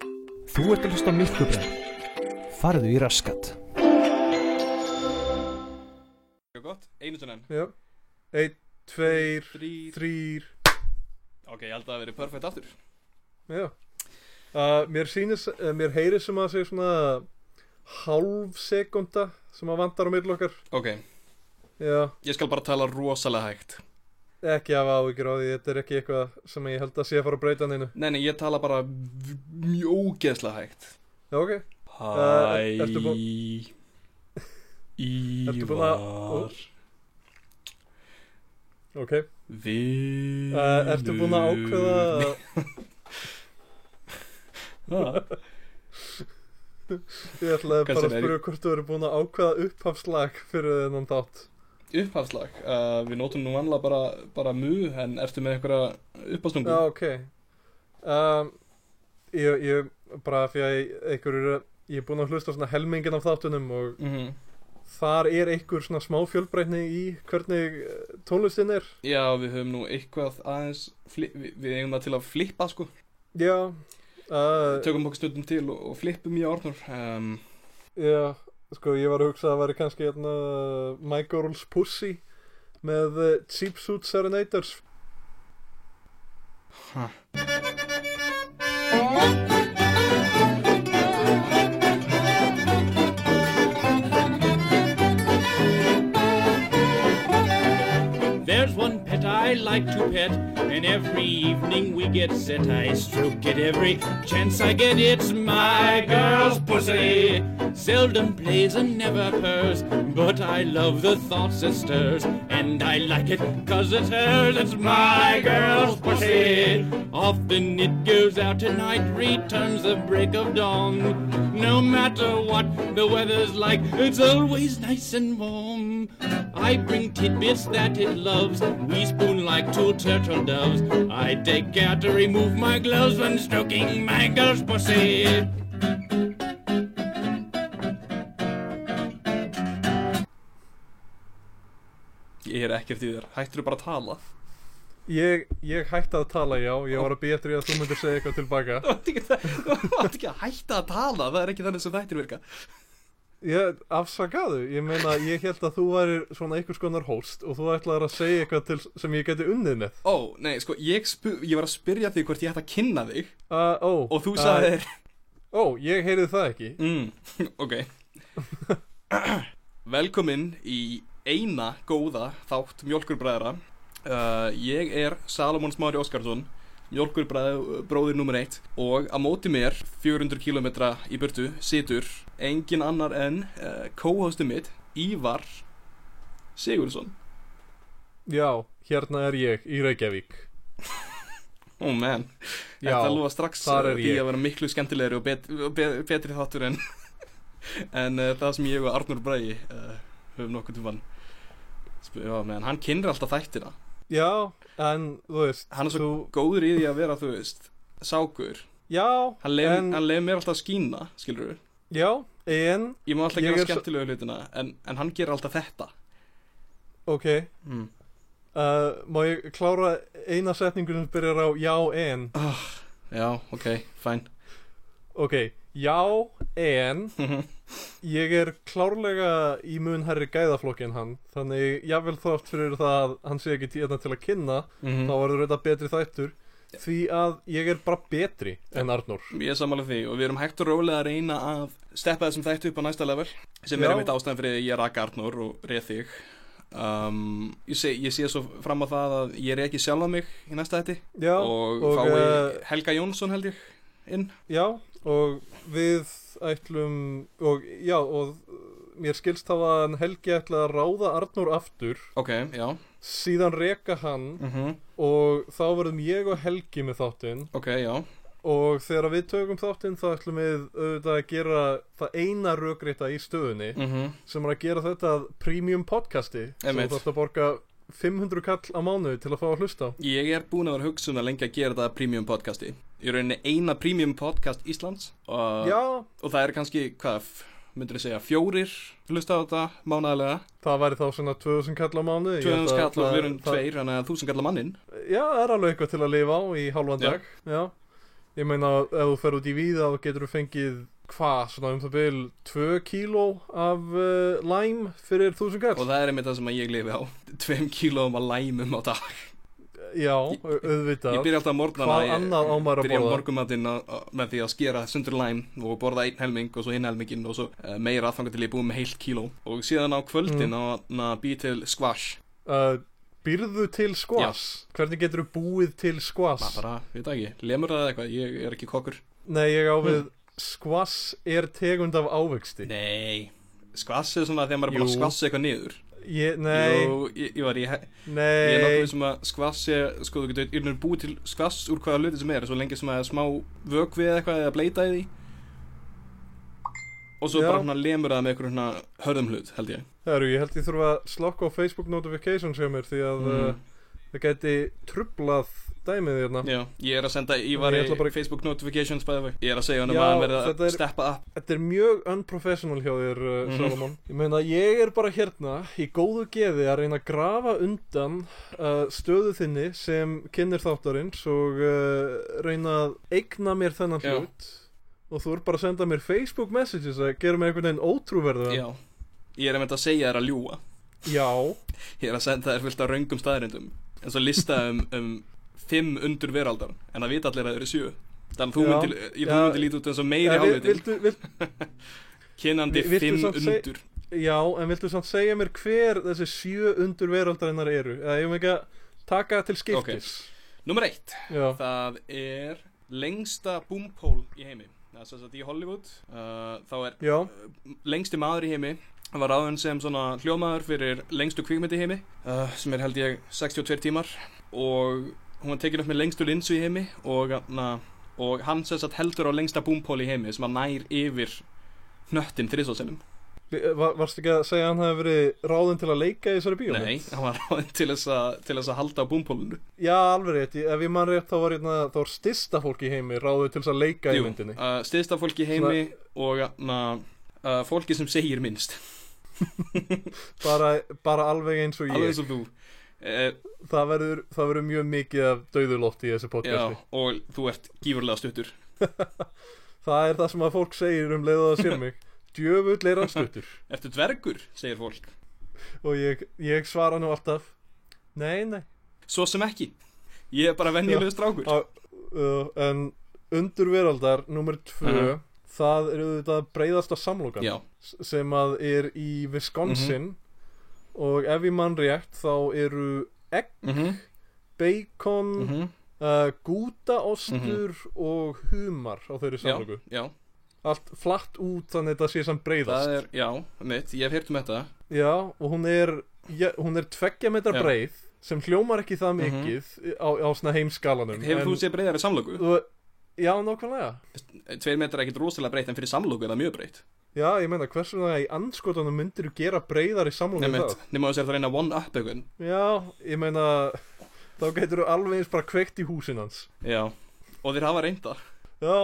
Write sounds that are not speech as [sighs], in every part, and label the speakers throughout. Speaker 1: Þú ert að hlusta á Myrkubræð. Farðu í raskat.
Speaker 2: Mjög gott, einu tónan
Speaker 3: Já. Einn, tveir,
Speaker 2: Þrýr
Speaker 3: þrýr.
Speaker 2: Ok, ég held að það veri perfect aftur
Speaker 3: Já. Uh, mér sýnis, uh, mér heyri sem að segja svona hálf sekunda sem að vandar á milli okkar.
Speaker 2: Ok,
Speaker 3: Já,
Speaker 2: ég skal bara tala rosalega hægt
Speaker 3: ekki af áhyggjur á því, þetta er ekki eitthvað sem ég held að sé að fara að breyta neinu.
Speaker 2: Nei, nei, ég tala bara v- mjög ógeðslega hægt
Speaker 3: Já, ok.
Speaker 2: Hæ
Speaker 3: Eh, ertu bú- ertu búin að-
Speaker 2: Ívar
Speaker 3: Ok.
Speaker 2: Vinur
Speaker 3: Uh, ertu búin að ákveða,
Speaker 2: Ha?
Speaker 3: ég ætlaði bara
Speaker 2: Kannski
Speaker 3: að
Speaker 2: er-
Speaker 3: spyrja hvort þú eru búin að ákveða upphafslag fyrir þennan þátt.
Speaker 2: Upphafslag uh, Við notum nú vanlega bara, bara mu En ertu með einhverja upphafstungu
Speaker 3: Já, ok um, ég, ég, bara því að einhver eru, ég er búinn að hlusta á svona helmingin af þáttunum og
Speaker 2: mm
Speaker 3: þar er einhver svona smá fjölbreytni í hvernig eh, tónlistin er
Speaker 2: Já, við höfum nú eitthvað aðeins fli- við, við eigum það til að flippa sko
Speaker 3: Já uh,
Speaker 2: Tökum okkur stundum til og, og flippum í orðnur um,
Speaker 3: Já, sko ég var að hugsa að það væri kannski hérna My Girl's Pussy með eh, Cheap Suit Serenaders
Speaker 4: There's one pet I like to pet, and every evening we get set. I stroke it every chance I get. It's my girl's pussy. Seldom plays and never purrs, but I love the thoughts it stirs, and I like it 'cause it's hers. It's my girl's pussy. Often it goes out at night, returns the break of dawn. No matter what the weather's like, it's always nice and warm. I bring tidbits that it loves. We spoon like two turtle doves. I take care to remove my gloves when stroking my girl's pussy.
Speaker 2: Ég er ekkert í þér, hættur bara að tala [laughs]
Speaker 3: Ég, ég hætti að tala, já, ég var að býja eftir því að þú myndir segja eitthvað tilbaka
Speaker 2: Þú átt ekki, þú [laughs] átt ekki að hætta að tala Það er ekki þannig sem þættir virka
Speaker 3: Ég afsakaðu, ég meina ég held að þú væri svona einhvers konar host og þú ætlaðir að segja eitthvað til sem ég geti unnið með
Speaker 2: Ó, nei, sko, ég, spu, ég var að spyrja þig hvort ég ætti að kynna þig
Speaker 3: uh, Ó,
Speaker 2: Og þú sagði þér
Speaker 3: Ó, ég heyrið það ekki
Speaker 2: mm, [laughs] Ok Velkomin í eina góða þátt mjölkurbræðra uh, Ég er Salomon Smári Óskarsson Mjölkurbræðbróðir nummer eitt Og á móti mér, 400 km í burtu, situr Engin annar en uh, co-hostið mitt, Ívar Sigurðsson
Speaker 3: Já, hérna er ég í Reykjavík
Speaker 2: Ó oh, menn,
Speaker 3: Já,
Speaker 2: þetta lofa strax
Speaker 3: þar er
Speaker 2: því
Speaker 3: ég.
Speaker 2: að vera miklu skemmtilegri og bet, bet, betri þáttur en, [laughs] en uh, það sem ég og Arnur Bræði uh, höfum nokkuð til vann Já, menn, hann kynir alltaf þættina
Speaker 3: Já, en þú veist
Speaker 2: Hann er svo
Speaker 3: þú...
Speaker 2: góður í því að vera, þú veist, sákur
Speaker 3: Já,
Speaker 2: Hann leið,
Speaker 3: En-
Speaker 2: hann leið mér alltaf að skína, skilur við
Speaker 3: já, en
Speaker 2: Ég má alltaf
Speaker 3: Ég
Speaker 2: gera
Speaker 3: er svo-
Speaker 2: skemmtilegu hlutina en, en hann gerir alltaf þetta
Speaker 3: Ok,
Speaker 2: mm.
Speaker 3: uh, má ég klára eina setningu sem byrjar á já, en
Speaker 2: Já, ok, [laughs] fæn
Speaker 3: Ok, já, en Ég er klárlega í mun herri gæðaflokkin hann Þannig ég vil þátt fyrir það að hann sé ekki tíðan til að kynna
Speaker 2: Mhm.
Speaker 3: Þá verður þetta betri þættur Því að ég er bara betri en Arnór
Speaker 2: Ég er sammála því og við erum hægt og rólega að reyna að steppa þessum þættu upp á næsta level sem er
Speaker 3: Já.
Speaker 2: einmitt ástæðan fyrir því að ég raka Arnur og reið þig um, ég, sé, ég sé svo fram á það að ég reiki sjálfa mig í næsta þætti
Speaker 3: Já,
Speaker 2: og,
Speaker 3: og,
Speaker 2: fái
Speaker 3: eh,
Speaker 2: Helga Jónsson held ég inn
Speaker 3: já og við ætlum Og já, og uh, mér skilst það að hann Helgi ætla að ráða Arnór aftur
Speaker 2: Ok, já
Speaker 3: Síðan reka hann
Speaker 2: mm
Speaker 3: Og þá verðum ég og Helgi með þáttinn
Speaker 2: Ok, já
Speaker 3: Og þegar við tökum þáttinn þá ætlum við auðvitað að gera það eina rökreita í stöðunni
Speaker 2: mm
Speaker 3: sem er að gera þetta að premium podcasti sem
Speaker 2: Einmitt.
Speaker 3: þú þarfst að borga 500 kall á mánuði til að fá að hlusta á.
Speaker 2: Ég er búin að vera að hugsa um það lengi að gera þetta að premium podcasti Ég er rauninni eina premium podcast Íslands og,
Speaker 3: Já,
Speaker 2: og það er kannski, hvað, f- myndirðu segja, fjórir hlusta á þetta mánæðilega
Speaker 3: það væri þá svona 2000 kall á mánuði. Ég
Speaker 2: 200
Speaker 3: held að
Speaker 2: skall og
Speaker 3: það-
Speaker 2: við erum
Speaker 3: það-
Speaker 2: tveir, þannig að 1000 skall á manninn
Speaker 3: Já, það er alveg eitthvað til að lifa á í hálfan
Speaker 2: Já.
Speaker 3: dag. Já. Ég meina, ef þú fer út í víða þá getur þú fengið hvað, svona um það byl 2 kíló af uh, lime fyrir 1000
Speaker 2: Og
Speaker 3: kall
Speaker 2: það er einmitt það sem að ég lifi á [laughs] Tveim kílóum að læmum á dag
Speaker 3: Já,
Speaker 2: Ég-
Speaker 3: au-
Speaker 2: Ég
Speaker 3: auðvitað
Speaker 2: byrja alltaf að morgna
Speaker 3: Hvað annað á maður að
Speaker 2: Byrja
Speaker 3: borða?
Speaker 2: morgumatinn með því að skera sundur læm Og borða einn helming og svo hinn helminginn Og svo eh, meira þangar til ég er búið með heilt kíló Og síðan á kvöldin mm. að býja til squash
Speaker 3: uh, Býrðu til skvass? Hvernig getur þú búið til
Speaker 2: Það
Speaker 3: skvass?
Speaker 2: bara, veit það ekki, lemur það eða eitthvað Ég er ekki kokkur
Speaker 3: Nei, ég á við skvass er tegund af ávegsti
Speaker 2: Hmm. Nei, skvass er svona þegar maður er búin að
Speaker 3: Jú.
Speaker 2: skvassa eitthvað niður
Speaker 3: Ég, nei,
Speaker 2: Jú, ég, ég var í he- Ég er
Speaker 3: nei
Speaker 2: náttúrulega sem að skvass er, sko, þú getur yrnur búið til skvass úr hvaða hluti sem er, svo lengi sem að það er smá vökvi eða eitthvað eða bleita í því. Og svo
Speaker 3: Já.
Speaker 2: bara hérna lemur það með einhverjum hérna hörðum hlut, held ég.
Speaker 3: Herru, ég held ég þurfa að slokka á Facebook notifications hjá mér því að
Speaker 2: Mm.
Speaker 3: uh, það geti trublað dæmið hérna
Speaker 2: Já, ég er að senda Ívar í
Speaker 3: Ég ætla bara-
Speaker 2: Facebook notifications bæði vekk. Ég er að segja hann um
Speaker 3: Já,
Speaker 2: að hann verði að
Speaker 3: þetta er-
Speaker 2: steppa upp.
Speaker 3: Þetta er mjög unprofessional hjá þér, uh,
Speaker 2: Mhm.
Speaker 3: Salomon. Ég meina, ég er bara hérna í góðu geði að reyna að grafa undan uh, stöðu þinni sem kynir þáttarins og uh, reyna að eigna mér þennan
Speaker 2: Já.
Speaker 3: hlut og þú er bara að senda mér Facebook messages að gera mig einhvern veginn ótrúverða.
Speaker 2: Já. Ég er að mynda að segja þér að ljúa.
Speaker 3: Já,
Speaker 2: Ég er að senda þér fullt af raungum staðarindum. En svo lista
Speaker 3: [laughs]
Speaker 2: um, um fimm undur veraldar. En það vita allir að þeir eru sjö. Þannig að þú
Speaker 3: Já.
Speaker 2: myndir, ég- þú
Speaker 3: Já.
Speaker 2: myndir líta út eins og meiri
Speaker 3: Ja, Eh, vil-
Speaker 2: hálfveitin.
Speaker 3: viltu, vil,
Speaker 2: Kynandi
Speaker 3: Vil- viltu
Speaker 2: fimm
Speaker 3: samt seg-
Speaker 2: undur.
Speaker 3: já, en viltu samt segja mér hver þessi sjö undur veraldarinnar eru? Eða ég með ekki að taka til skiptis.
Speaker 2: Númer eitt.
Speaker 3: Já.
Speaker 2: Það er lengsta boompól í heimi Það er svo að í Hollywood uh, Þá er
Speaker 3: Já,
Speaker 2: lengsti maður í heimi Hann var áðan sem svona hljómaður fyrir lengstu kvikmyndi í heimi uh, Sem er held ég 62 tímar Og hún var tekin upp með lengstu linsu í heimi Og, na, og hann sem sagt heldur á lengsta boompól í heimi Sem að nær yfir hnöttin þriðsóðsennum
Speaker 3: Var, varstu ekki að segja að hann hefði verið ráðinn til að leika í þessari bíómynd?
Speaker 2: Nei, hann var áðan til þess að, til þess að halda á boompólunu
Speaker 3: Já, alveg rétt, Ég- ef ég man rétt þá var, hérna, þá var stista fólk í heimi ráðið til þess að leika í
Speaker 2: Jú,
Speaker 3: myndinni
Speaker 2: uh, stiðsta fólki í heimi Og na, uh, fólki sem segir minnst
Speaker 3: bara, bara alveg eins og [laughs] ég
Speaker 2: Alveg eins og þú Eh,
Speaker 3: Það, verður, það verður mjög mikið af dauðuloft í
Speaker 2: Já,
Speaker 3: þessu podcasti
Speaker 2: og þú ert gífurlega stuttur
Speaker 3: Það er það sem að fólk segir um leiðu að sér
Speaker 2: [laughs]
Speaker 3: mig Djöfull er hann stuttur
Speaker 2: Ertu dvergur, segir fólk
Speaker 3: Og ég, ég svara nú alltaf Nei, nei
Speaker 2: Svo sem ekki Ég er bara venjulegu strákur
Speaker 3: Á- uh, En undur veraldar, nummer tvö
Speaker 2: Mhm.
Speaker 3: Það eru þetta breyðasta samlokan
Speaker 2: Já, Mhm.
Speaker 3: sem að er í Wisconsin og ef ég mann rétt þá eru egg,
Speaker 2: mhm,
Speaker 3: bacon, mm
Speaker 2: mhm
Speaker 3: uh, gútaostur og humar á þeirri
Speaker 2: Já,
Speaker 3: samlöku.
Speaker 2: já,
Speaker 3: Allt flatt út þannig að þetta sé samt breyðast.
Speaker 2: það er, já, mitt, ég hef heyrt um þetta
Speaker 3: Já, og hún er, ja, hún er tveggja metra
Speaker 2: Já.
Speaker 3: breið sem hljómar ekki það
Speaker 2: Mhm.
Speaker 3: mikið á, á svona heimskalanum.
Speaker 2: Hefur þú séð breyðari samlöku?
Speaker 3: þú... Já, nákvæmlega.
Speaker 2: Tveir metrar er ekkit rosalega breytt en fyrir samlöku er það mjög breytt
Speaker 3: Já, ég meina, hversu það í anskotanum myndir þú gera breyðari samlöku
Speaker 2: Nei,
Speaker 3: en það?
Speaker 2: mitt, nema þess að það reyna að one up eitthvað
Speaker 3: Já, ég meina þá getur þú alveg eins bara kveikt í húsin hans
Speaker 2: Já, og þeir hafa reynda
Speaker 3: Já,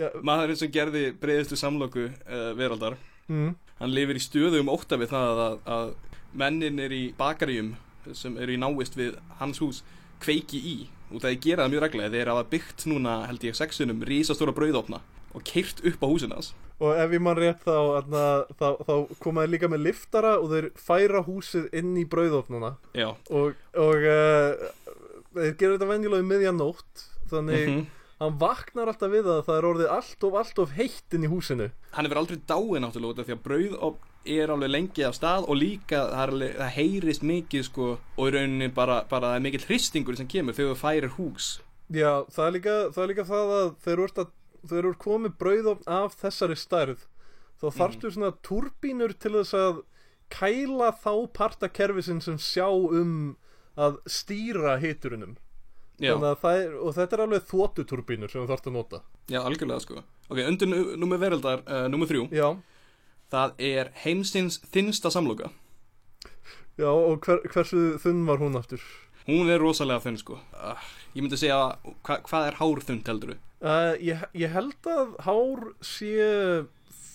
Speaker 3: já
Speaker 2: Maðurinn sem gerði breyðistu samlöku uh, veraldar
Speaker 3: mm,
Speaker 2: Hann lifir í stöðum ótta við það að, að mennin er í bakaríum sem eru í náist við hans hús kveiki í og það er gerað það mjög reglega þeir hafa byggt núna held ég sexunum risastóra brauðopna og keirt upp á húsinu hans
Speaker 3: Og ef ég man rétt þá, atna, þá, þá koma þeir líka með liftara og þeir færa húsið inn í brauðofnuna
Speaker 2: Já,
Speaker 3: og, og uh, þeir gera þetta venjulega í miðja nótt þannig
Speaker 2: mm
Speaker 3: hann vaknar alltaf við að það er orðið allt of allt of heitt inn í húsinu
Speaker 2: hann hefur aldrei dáið náttúrulega út af því að brauðopn er alveg lengi af stað og líka það, er alveg, það heyrist mikið sko og í rauninni bara, bara það er mikill hristingur sem kemur þegar þú færir hús
Speaker 3: Já, það er líka það, er líka það að þeir eru, að, þeir eru komið brauðofn af þessari stærð þá þarftu svona turbínur til þess að kæla þá parta kerfisin sem sjá um að stýra hiturunum
Speaker 2: Já,
Speaker 3: Þannig að það er, og þetta er alveg þótuturbínur sem þú þarft að nota
Speaker 2: já algjörlega sko Ok, undir nu- númer veraldar, uh, númer þrjú
Speaker 3: Já,
Speaker 2: Það er heimsins þinnsta samloka
Speaker 3: já og hver, hversu þunn var hún aftur?
Speaker 2: Hún er rosalega þunn sko uh, Ég myndi segja hva, hvað er hár þunn heldur þú?
Speaker 3: Uh, ég, ég held að hár sé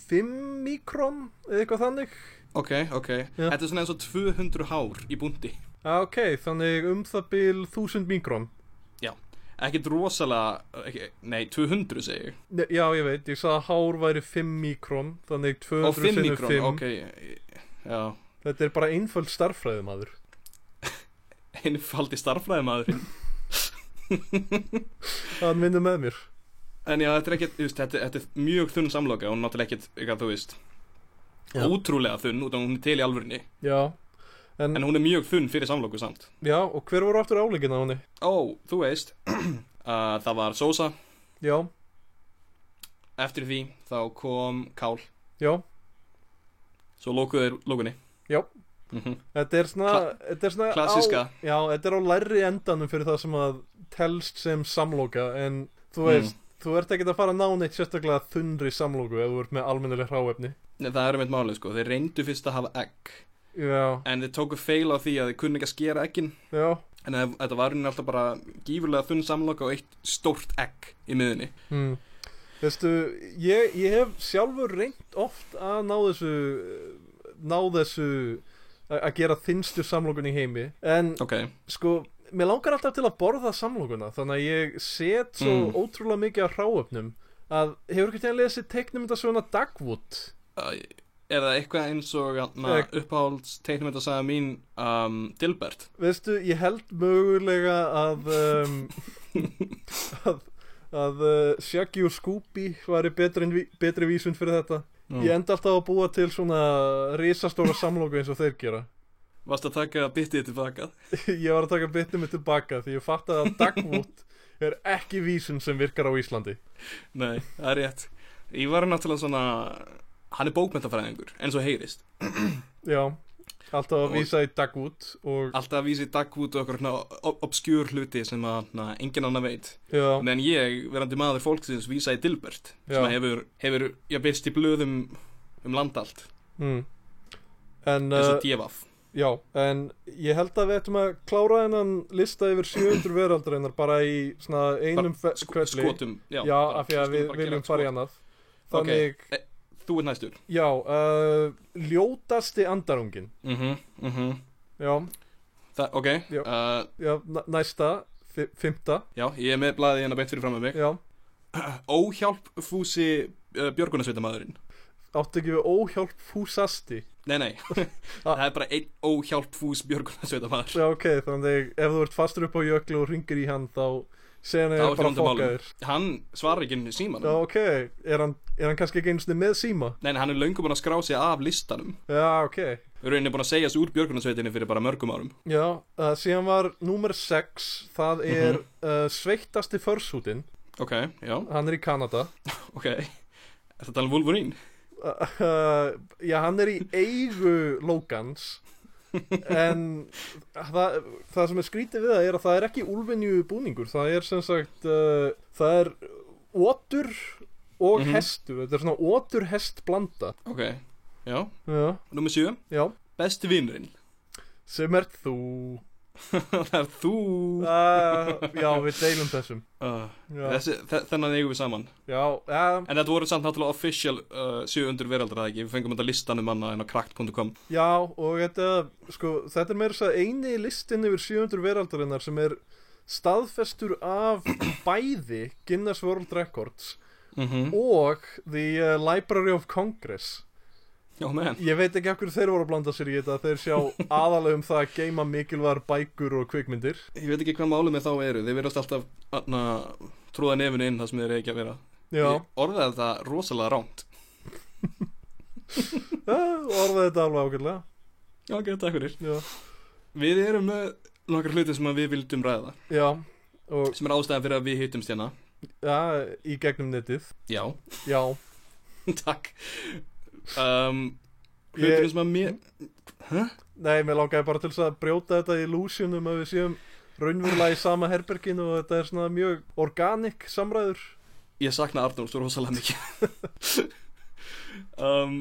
Speaker 3: 5 mikron eða eitthvað þannig
Speaker 2: Ok, ok
Speaker 3: Já.
Speaker 2: Þetta er svona eins og 200 hár í búndi
Speaker 3: Já, ok, þannig um það bil 1000 mikron
Speaker 2: ekkert rosalega ekki, Nei, 200 segi ég
Speaker 3: Ne- Já, ég veit, ég sagði að hár væri 5 mikrón Þannig
Speaker 2: Og
Speaker 3: 200
Speaker 2: 5
Speaker 3: sinnum
Speaker 2: mikrón,
Speaker 3: 5
Speaker 2: ok ég- Já,
Speaker 3: Þetta er bara einföld starffræði maður
Speaker 2: einfaldi starfræði maður
Speaker 3: Hann vinnur með mér
Speaker 2: En já, þetta er ekkert, þú veist, þetta, þetta er mjög þunn samloka og náttúrulega ekkert, eitthvað þú veist
Speaker 3: Já. Mm.
Speaker 2: Ótrúlega þunn, út af hún er til í alvörinni
Speaker 3: Já, en,
Speaker 2: En hún er mjög þunn fyrir samloku samt
Speaker 3: já, og hver voru aftur áleikinn á henni?
Speaker 2: Ó, þú veist [clears throat] uh, Það var Sosa,
Speaker 3: Já,
Speaker 2: eftir því þá kom Kál
Speaker 3: já,
Speaker 2: Svo lókuðu þeir lókunni
Speaker 3: Já.
Speaker 2: Mhm.
Speaker 3: þetta er svona,
Speaker 2: Kla-
Speaker 3: þetta er svona
Speaker 2: Klassíska.
Speaker 3: á, Já, þetta er á lærri endanum fyrir það sem að telst sem samloka En þú
Speaker 2: Mm.
Speaker 3: veist, þú ert ekkert að fara að ná neitt sérstaklega þunnri samloku Ef þú ert með almennileg hráefni
Speaker 2: Nei, Það er um eitt málið sko, þeir reyndu fyrst að hafa egg
Speaker 3: Já,
Speaker 2: En þeir tóku feil á því að þeir kunni ekki að skera eggin
Speaker 3: já,
Speaker 2: En það- þetta var raunin alltaf bara gífurlega þunn samloka og eitt stórt egg í miðunni
Speaker 3: Hmm. Veistu, ég, ég hef sjálfur reynt oft að ná þessu ná þessu a- að gera þinnstu samlokun í heimi en
Speaker 2: Ok,
Speaker 3: sko, mér langar alltaf til að borða samlokuna þannig að ég set svo
Speaker 2: Mm.
Speaker 3: ótrúlega mikið af hráöfnum að hefur ekki til að lesa teiknum þetta svona Dagwood
Speaker 2: uh, er það eitthvað eins og
Speaker 3: Egg.
Speaker 2: uh, uppáhalds teiknum þetta sagði mín um, Dilbert
Speaker 3: Veistu, ég held mögulega að um, að, að uh, Shaggy og Scooby væri betri, en ví- betri vísun fyrir þetta Ég enda alltaf að búa til svona risastóra samlóku eins og þeir gera [laughs]
Speaker 2: Varst að taka bitið tilbaka
Speaker 3: Ég var að taka bitnum mitt tilbaka því ég fattaði að Dagwood er ekki vísun sem virkar á Íslandi
Speaker 2: Nei, það er rétt Ég var náttúrulega svona Hann er bókmentafræðingur, eins og heyrist
Speaker 3: Já, alltaf
Speaker 2: Og- Ah,
Speaker 3: að vísa í Dagwood og
Speaker 2: Alltaf vísi dagvút og okkur svona ob- obskjúr hluti sem að na, engin annar veit
Speaker 3: já,
Speaker 2: Meðan ég, verandi maður fólksins, vísa í Dilbert
Speaker 3: Já.
Speaker 2: sem að hefur, hefur, ég byrst í blöðum um landallt,
Speaker 3: mm. en,
Speaker 2: eins
Speaker 3: uh,
Speaker 2: og divaf
Speaker 3: já, en ég held að við ættum að klára hennan lista yfir 700 veraldreinar bara í svona einum fe-
Speaker 2: Sk
Speaker 3: hvelli
Speaker 2: sko- Skotum, já,
Speaker 3: Já,
Speaker 2: bara-
Speaker 3: af því að
Speaker 2: skulum
Speaker 3: við
Speaker 2: bara gera
Speaker 3: viljum fara hérna. í
Speaker 2: skot.
Speaker 3: annað
Speaker 2: Ok.
Speaker 3: Þannig,
Speaker 2: Þú ert næstur
Speaker 3: já, uh, ljótasti andarungin
Speaker 2: mm
Speaker 3: Já,
Speaker 2: Þa, Ok,
Speaker 3: Já.
Speaker 2: uh,
Speaker 3: já, næ- næsta, fi- fimmta
Speaker 2: já, ég er með blaðið hérna beint fyrir fram með mig
Speaker 3: Já,
Speaker 2: Óhjálpfúsi uh, björgunarsveitamæðurinn
Speaker 3: áttu ekki við óhjálp fúsasti
Speaker 2: Nei,
Speaker 3: [laughs]
Speaker 2: nei, það er bara einn óhjálpfús björgunarsveitamæður
Speaker 3: Ah. Já, ok, þannig ef þú ert fastur upp á jöklu og ringir í hann þá segja
Speaker 2: Þá er
Speaker 3: hann að ég bara
Speaker 2: hljóndum málum.
Speaker 3: fokkaðir
Speaker 2: Hann svarar ekki inn í símanum
Speaker 3: Já, ok, er hann, er hann kannski ekki einu sinni með síma?
Speaker 2: Nei, nei, hann er löngu búin að skrá sig af listanum
Speaker 3: Já, ok
Speaker 2: Við erum búin að segja þessu úr björgunarsveitinni fyrir bara mörgum árum
Speaker 3: Já, uh, síðan var númer 6 það er
Speaker 2: Mhm.
Speaker 3: uh, sveittasti försútin,
Speaker 2: Ok, já,
Speaker 3: hann er í Kanada
Speaker 2: ok Er þetta talað um Wolverine?
Speaker 3: uh, uh, Já, hann er í eigu Logans en það, það sem er skrítið við það er að það er ekki úlfinju búningur það er sem sagt uh, það er otur og
Speaker 2: Mhm.
Speaker 3: hestur, þetta er svona otur hest blanda
Speaker 2: Ok, já
Speaker 3: já,
Speaker 2: Númer 7,
Speaker 3: já,
Speaker 2: besti vinurinn
Speaker 3: sem er þú
Speaker 2: [laughs] Það er þú
Speaker 3: uh, já, við deilum þessum
Speaker 2: uh,
Speaker 3: já,
Speaker 2: þessi, þe- Þennan eigum við saman
Speaker 3: já, uh,
Speaker 2: En þetta voru samt náttúrulega official uh, 700 veraldar það ekki Við fengum þetta listan um hana en á krakt.com
Speaker 3: já og þetta, sko, þetta er meira þess að eini listin yfir 700 veraldarinnar sem er staðfestur af bæði Guinness World Records
Speaker 2: mm
Speaker 3: og The uh, Library of Congress
Speaker 2: Já, menn
Speaker 3: Ég veit ekki okkur þeir voru að blanda sér í þetta Þeir sjá aðalega um það að geima mikilvægar bækur og kvikmyndir
Speaker 2: Ég veit ekki hvað málum með þá eru Þeir verðast alltaf na, trúða nefinu inn það sem þeir eiga ekki að vera
Speaker 3: Já,
Speaker 2: Ég orðaði þetta rosalega rámt
Speaker 3: yeah. Eh, orðaði þetta alveg ágætlega
Speaker 2: Já, ok, takk fyrir
Speaker 3: Já,
Speaker 2: Við erum með nokkar hluti sem að við vildum ræða
Speaker 3: já. og
Speaker 2: sem er ástæðan fyrir að við hittumst hérna
Speaker 3: ja, í gegnum netið
Speaker 2: Já,
Speaker 3: Já,
Speaker 2: [laughs] takk um, Hluturinn
Speaker 3: Ég-
Speaker 2: sem að mér
Speaker 3: nei, mér langaði bara til þess að brjóta þetta í lúsjunum að við séum raunverulega í sama herberginu og þetta er svona mjög organik samræður
Speaker 2: Ég sakna Arnóls rosalega mikið [laughs] um,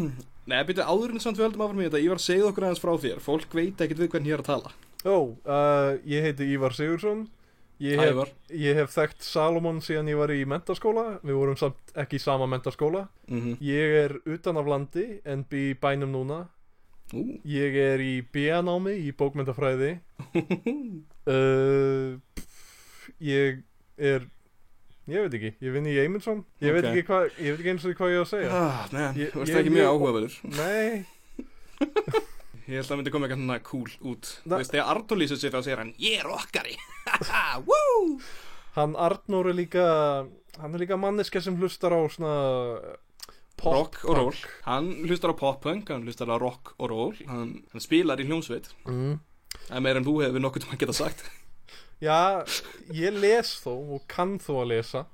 Speaker 2: [clears throat] Nei, byrju, áðurinn samt við höldum áfram í þetta Ég var að segja okkur aðeins frá þér Fólk veit ekkert við hvernig ég er að tala
Speaker 3: Ó, uh, ég heiti Ívar Sigursson Ég hef,
Speaker 2: Ævar
Speaker 3: ég hef þekkt Salomon síðan ég var í mentaskóla Við vorum samt ekki í sama mentaskóla
Speaker 2: mm
Speaker 3: Ég er utan af landi en bý í bænum núna.
Speaker 2: Ú,
Speaker 3: Ég er
Speaker 2: [laughs]
Speaker 3: í BA-námi í bókmyndafræði. Uh, pff, ég er ég veit ekki, ég vinn í Eymundsson ég
Speaker 2: Ok.
Speaker 3: veit ekki hvað, ég veit ekki eins og því hvað ég á að segja
Speaker 2: Ah, man,
Speaker 3: Ég-
Speaker 2: þú veist
Speaker 3: ég-
Speaker 2: ekki mjög
Speaker 3: ég-
Speaker 2: áhugaverður
Speaker 3: nei,
Speaker 2: Ég held að það myndi koma eitthvað svona cool út Þú
Speaker 3: Na-
Speaker 2: veist, þegar Artur lýsir sér þá segir hann Ég er [laughs] okkari Woo!
Speaker 3: hann Arnór er líka hann er líka manneska sem hlustar á svona uh, pop
Speaker 2: Rock og ról Hann hlustar á pop-punk, hann hlustar á rock og ról Hann, hann spilar í hljómsveit
Speaker 3: mm.
Speaker 2: Það er meira en þú hefur nokkuð til að geta sagt
Speaker 3: já, ég les þó og kann þó að lesa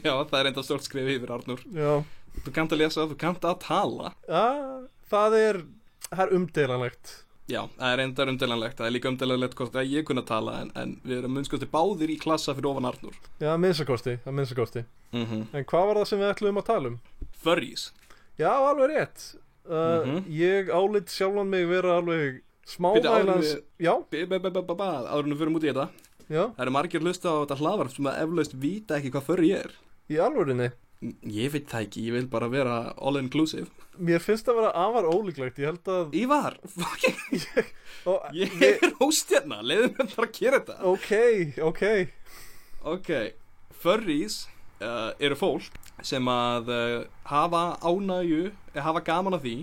Speaker 2: Já, það er enda stórt skrif yfir Arnur
Speaker 3: já,
Speaker 2: Þú kannt að lesa, þú kannt að tala
Speaker 3: ah, það er það er umdeilanlegt
Speaker 2: Já, það er enda umdelanlegt Það er líka umdelanlegt hvort að ég kunna tala En, en við erum munnskosti báðir í klassa fyrir ofan Arnur
Speaker 3: já, að minnstakosti, að minnstakosti
Speaker 2: mm -hmm.
Speaker 3: en hvað var það sem við ætlum að tala um?
Speaker 2: Furries
Speaker 3: Já, alveg rétt uh,
Speaker 2: Mhm.
Speaker 3: Ég álít sjálfan mig vera alveg
Speaker 2: Bíddu, áður en
Speaker 3: smávæglans
Speaker 2: við-
Speaker 3: Já,
Speaker 2: Ba-ba-ba-ba-ba, Áður en við fyrir út í þetta
Speaker 3: já,
Speaker 2: Það eru margir hlusta á þetta hlaðvarp sem að eflaust vita ekki hvað furry er
Speaker 3: í alvörinni
Speaker 2: N- Ég veit það ekki, ég vil bara vera all inclusive
Speaker 3: Mér finnst það að vera afar ólíklegt Ég held að
Speaker 2: Ívar, fucking,
Speaker 3: og,
Speaker 2: ég
Speaker 3: ég-
Speaker 2: er hóst hérna Leðum við bara að gera þetta
Speaker 3: Ok, ok
Speaker 2: Ok, furries uh, eru fólk sem að uh, hafa ánægju, eh, hafa gaman af því